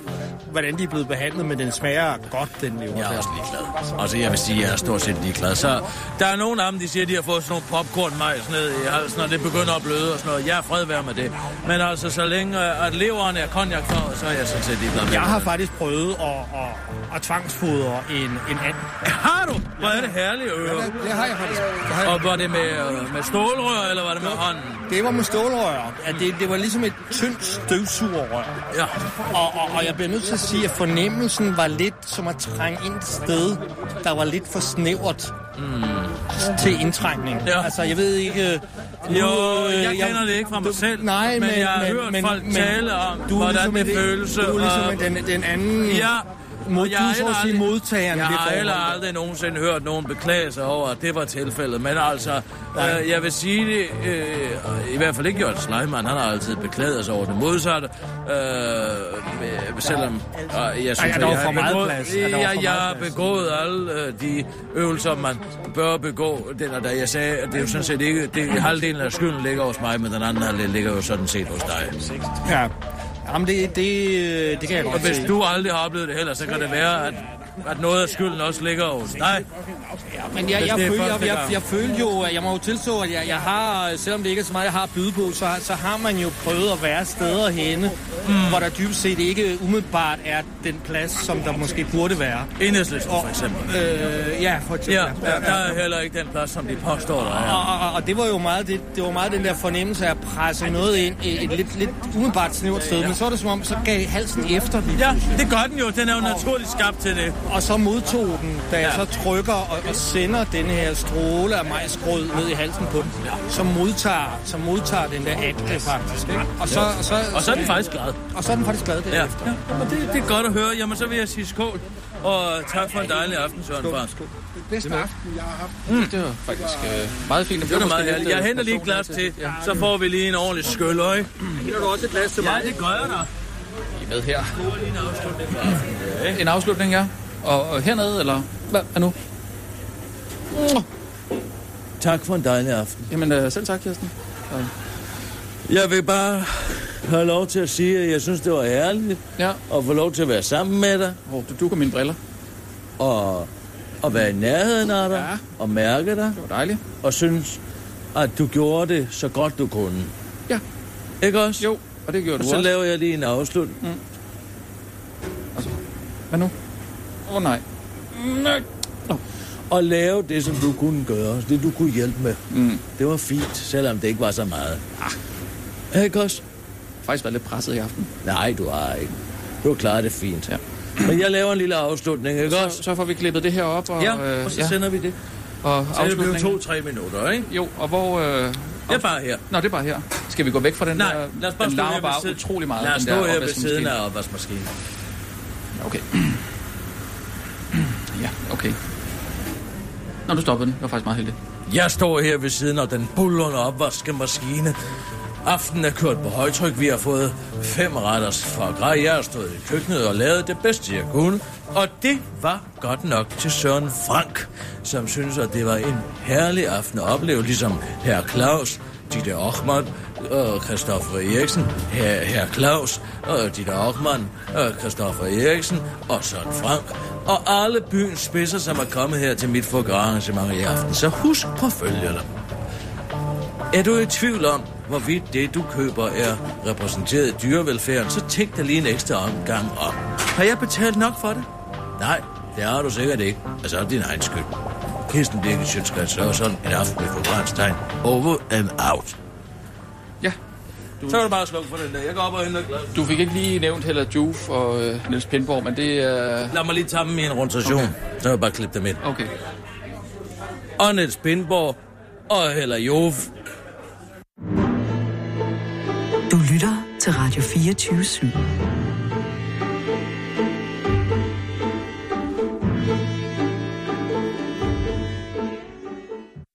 Speaker 8: hvordan de er blevet behandlet, men den smager godt, den lever. Jeg er også
Speaker 2: ligeglad. Altså, jeg vil sige, at jeg er stort set ligeglad. Så der er nogle af dem, de siger, at de har fået sådan nogle popcornmajs ned i halsen, og det begynder at bløde og sådan noget. Jeg er fred være med det. Men altså, så længe øh, at leveren er konjakfarvet, så er jeg sådan set ligeglad med
Speaker 8: Jeg
Speaker 2: det.
Speaker 8: har faktisk prøvet at, at, at tvangsfodre en, en and.
Speaker 2: Har du? Hvor er det herlige ører.
Speaker 8: Det har jeg faktisk. Det har jeg.
Speaker 2: Og var det med, øh, med stålrør, eller var det med hånden?
Speaker 8: Det var med stålrør. Ja, det, det var ligesom et tyndt støvsugerrør.
Speaker 2: Ja.
Speaker 8: Og, og, og jeg bliver nødt til at sige, at fornemmelsen var lidt som at trænge ind et sted, der var lidt for snævert mm. til indtrængning. Ja. Altså, jeg ved ikke... øh,
Speaker 2: Jo,
Speaker 8: øh,
Speaker 2: jeg kender det ikke fra mig
Speaker 8: du,
Speaker 2: selv,
Speaker 8: nej,
Speaker 2: men
Speaker 8: men
Speaker 2: jeg har
Speaker 8: men,
Speaker 2: hørt
Speaker 8: men,
Speaker 2: folk
Speaker 8: men,
Speaker 2: tale om,
Speaker 8: du er
Speaker 2: hvordan
Speaker 8: ligesom
Speaker 2: det
Speaker 8: en-
Speaker 2: føles,
Speaker 8: Du er
Speaker 2: og-
Speaker 8: ligesom den, den anden...
Speaker 2: Ja,
Speaker 8: Mod,
Speaker 2: Og
Speaker 8: du
Speaker 2: jeg
Speaker 8: er
Speaker 2: har
Speaker 8: så at
Speaker 2: heller
Speaker 8: sige
Speaker 2: aldrig-
Speaker 8: modtageren. i
Speaker 2: Jeg
Speaker 8: det
Speaker 2: har
Speaker 8: forhold.
Speaker 2: heller aldrig nogensinde hørt nogen beklage sig over, at det var tilfældet. Men altså, øh, jeg vil sige det, øh, i hvert fald ikke Jørgen Sleiman, han har altid beklaget sig over det modsatte. Øh, øh, selvom øh, jeg
Speaker 8: Ej,
Speaker 2: synes,
Speaker 8: er der jo
Speaker 2: jeg,
Speaker 8: for
Speaker 2: har
Speaker 8: meget
Speaker 2: begået-
Speaker 8: plads? Er der jo for
Speaker 2: Ja,
Speaker 8: meget
Speaker 2: jeg har begået alle øh, de øvelser, man bør begå. Den og da jeg sagde, at det er jo sådan set ikke, det, halvdelen af skylden ligger hos mig, men den anden halvdel ligger jo sådan set hos dig.
Speaker 8: Ja. Jamen, det, det, øh, det kan jeg
Speaker 2: Og
Speaker 8: godt
Speaker 2: hvis
Speaker 8: se.
Speaker 2: du aldrig har oplevet det heller, så kan det være, at, at noget af skylden også ligger hos dig.
Speaker 8: Men jeg,
Speaker 2: Hvis
Speaker 8: jeg,
Speaker 2: det er
Speaker 8: følte, jeg,
Speaker 2: første
Speaker 8: jeg,
Speaker 2: gang.
Speaker 8: jeg følte jo, at jeg må jo tilstå, at jeg, jeg har, selvom det ikke er så meget, jeg har at byde på, så, så har man jo prøvet at være steder henne,
Speaker 2: Hmm.
Speaker 8: mm. hvor der dybest set ikke umiddelbart er den plads, som der måske burde være.
Speaker 2: Enhedslisten for eksempel.
Speaker 8: Øh, ja, for eksempel.
Speaker 2: Ja, ja, der er heller ikke den plads, som de påstår, der
Speaker 8: Og,
Speaker 2: er.
Speaker 8: og, og- og det var jo meget, det, det var meget den der fornemmelse af at presse noget ind i et lidt, lidt umiddelbart snævert sted, men så var det som om, så gav halsen efter lige
Speaker 2: Ja,
Speaker 8: pludselig.
Speaker 2: det gør den jo. Den er jo naturligt skabt til det.
Speaker 8: Og så modtog den, da jeg så trykker og, og sender den her stråle af majsgrød ned i halsen på den, så modtager, så modtager den der atle faktisk. Ikke? Og, så, og, så,
Speaker 2: Og så er den faktisk glad.
Speaker 8: Og så er den faktisk glad
Speaker 2: Ja, ja.
Speaker 8: derefter.
Speaker 2: Og det, det er godt at høre. Jamen, så vil jeg sige skål. Og tak for en dejlig aften, Søren Frank.
Speaker 5: Bedste aften, jeg har haft.
Speaker 4: Mm. Det var faktisk øh, meget fint.
Speaker 2: Det var
Speaker 4: måske
Speaker 2: meget
Speaker 4: lidt,
Speaker 2: herligt. Jeg
Speaker 4: øh,
Speaker 2: henter lige et glas til, så får vi lige en ordentlig skyld, øje.
Speaker 4: Henter du også et glas til
Speaker 2: Ja,
Speaker 4: mig?
Speaker 2: det gør jeg da.
Speaker 4: I er med her. En afslutning, ja. Og, og hernede, eller hvad er nu?
Speaker 2: Tak for en dejlig aften.
Speaker 4: Jamen, øh, selv tak, Kirsten. Øh,
Speaker 2: Jeg vil bare have lov til at sige, at jeg synes, det var herligt
Speaker 4: ja.
Speaker 2: at få lov til at være sammen med dig.
Speaker 4: Oh, du dukker mine briller.
Speaker 2: Og, og være i nærheden af dig, ja. og mærke dig. Det
Speaker 4: var dejligt.
Speaker 2: Og synes, at du gjorde det så godt du kunne.
Speaker 4: Ja.
Speaker 2: Ikke også?
Speaker 4: Jo, og det gjorde
Speaker 2: og
Speaker 4: du
Speaker 2: så
Speaker 4: også.
Speaker 2: laver jeg lige en afslutning.
Speaker 4: Mm. Hvad nu? Åh oh, nej. Nej.
Speaker 2: Og lave det, som du kunne gøre, det du kunne hjælpe med.
Speaker 4: Mm.
Speaker 2: Det var fint, selvom det ikke var så meget. Ah. Ikke også?
Speaker 4: Faktisk været lidt presset i aften.
Speaker 2: Nej, du har ikke. Du har klaret det fint. Ja. Men jeg laver en lille afslutning, ikke
Speaker 4: Så,
Speaker 2: også?
Speaker 4: så øh, får vi klippet det her op. Og,
Speaker 2: Ja, og så sender vi det.
Speaker 4: Og
Speaker 2: Så det blev
Speaker 4: afslutningen?
Speaker 2: to-tre minutter, ikke?
Speaker 4: Jo, og hvor... Øh,
Speaker 2: det er bare her.
Speaker 4: Nå, det er bare her. Skal vi gå væk fra den
Speaker 2: Nej,
Speaker 4: der?
Speaker 2: lad os bare
Speaker 4: den
Speaker 2: stå
Speaker 4: larmer
Speaker 2: her ved
Speaker 4: bare
Speaker 2: siden-
Speaker 4: utrolig meget.
Speaker 2: Lad os
Speaker 4: den der
Speaker 2: stå her ved
Speaker 4: opvaskemaskine.
Speaker 2: siden af opvaskemaskinen.
Speaker 4: Okay. ja, okay. Nå, du stoppede den. Det var faktisk meget heldigt.
Speaker 2: Jeg står her ved siden af den bullerne opvaskemaskine. Aftenen er kørt på højtryk. Vi har fået fem retters fra grej. Jeg har stået i køkkenet og lavet det bedste, jeg kunne. Og det var godt nok til Søren Frank, som synes, at det var en herlig aften at opleve, ligesom herr Claus, Ditte Ochmann, og Christoffer Eriksen, her, her Claus, og Ditte Aukmann, og Christoffer Eriksen, og Søren Frank, og alle byens spidser, som er kommet her til mit arrangement i aften. Så husk på følgerne. Er du i tvivl om, hvorvidt det, du køber, er repræsenteret i dyrevelfærden, så tænk dig lige en ekstra omgang om. Har jeg betalt nok for det? Nej, det har du sikkert ikke. Altså, det er din egen skyld. Kirsten Birgit Sjøtskrets Sørensen, en aften med forbrændstegn. Over and out.
Speaker 4: Du...
Speaker 2: Så er du bare slukket for den der. Jeg går op og henter glas.
Speaker 4: Du fik ikke lige nævnt heller Juf og øh, Niels Pindborg, men det er... Øh...
Speaker 2: Lad mig lige tage dem i en rotation. Okay. Så vil jeg bare klippe dem ind.
Speaker 4: Okay.
Speaker 2: Og Niels Pindborg og Heller Jov.
Speaker 1: Du lytter til Radio 24 /7.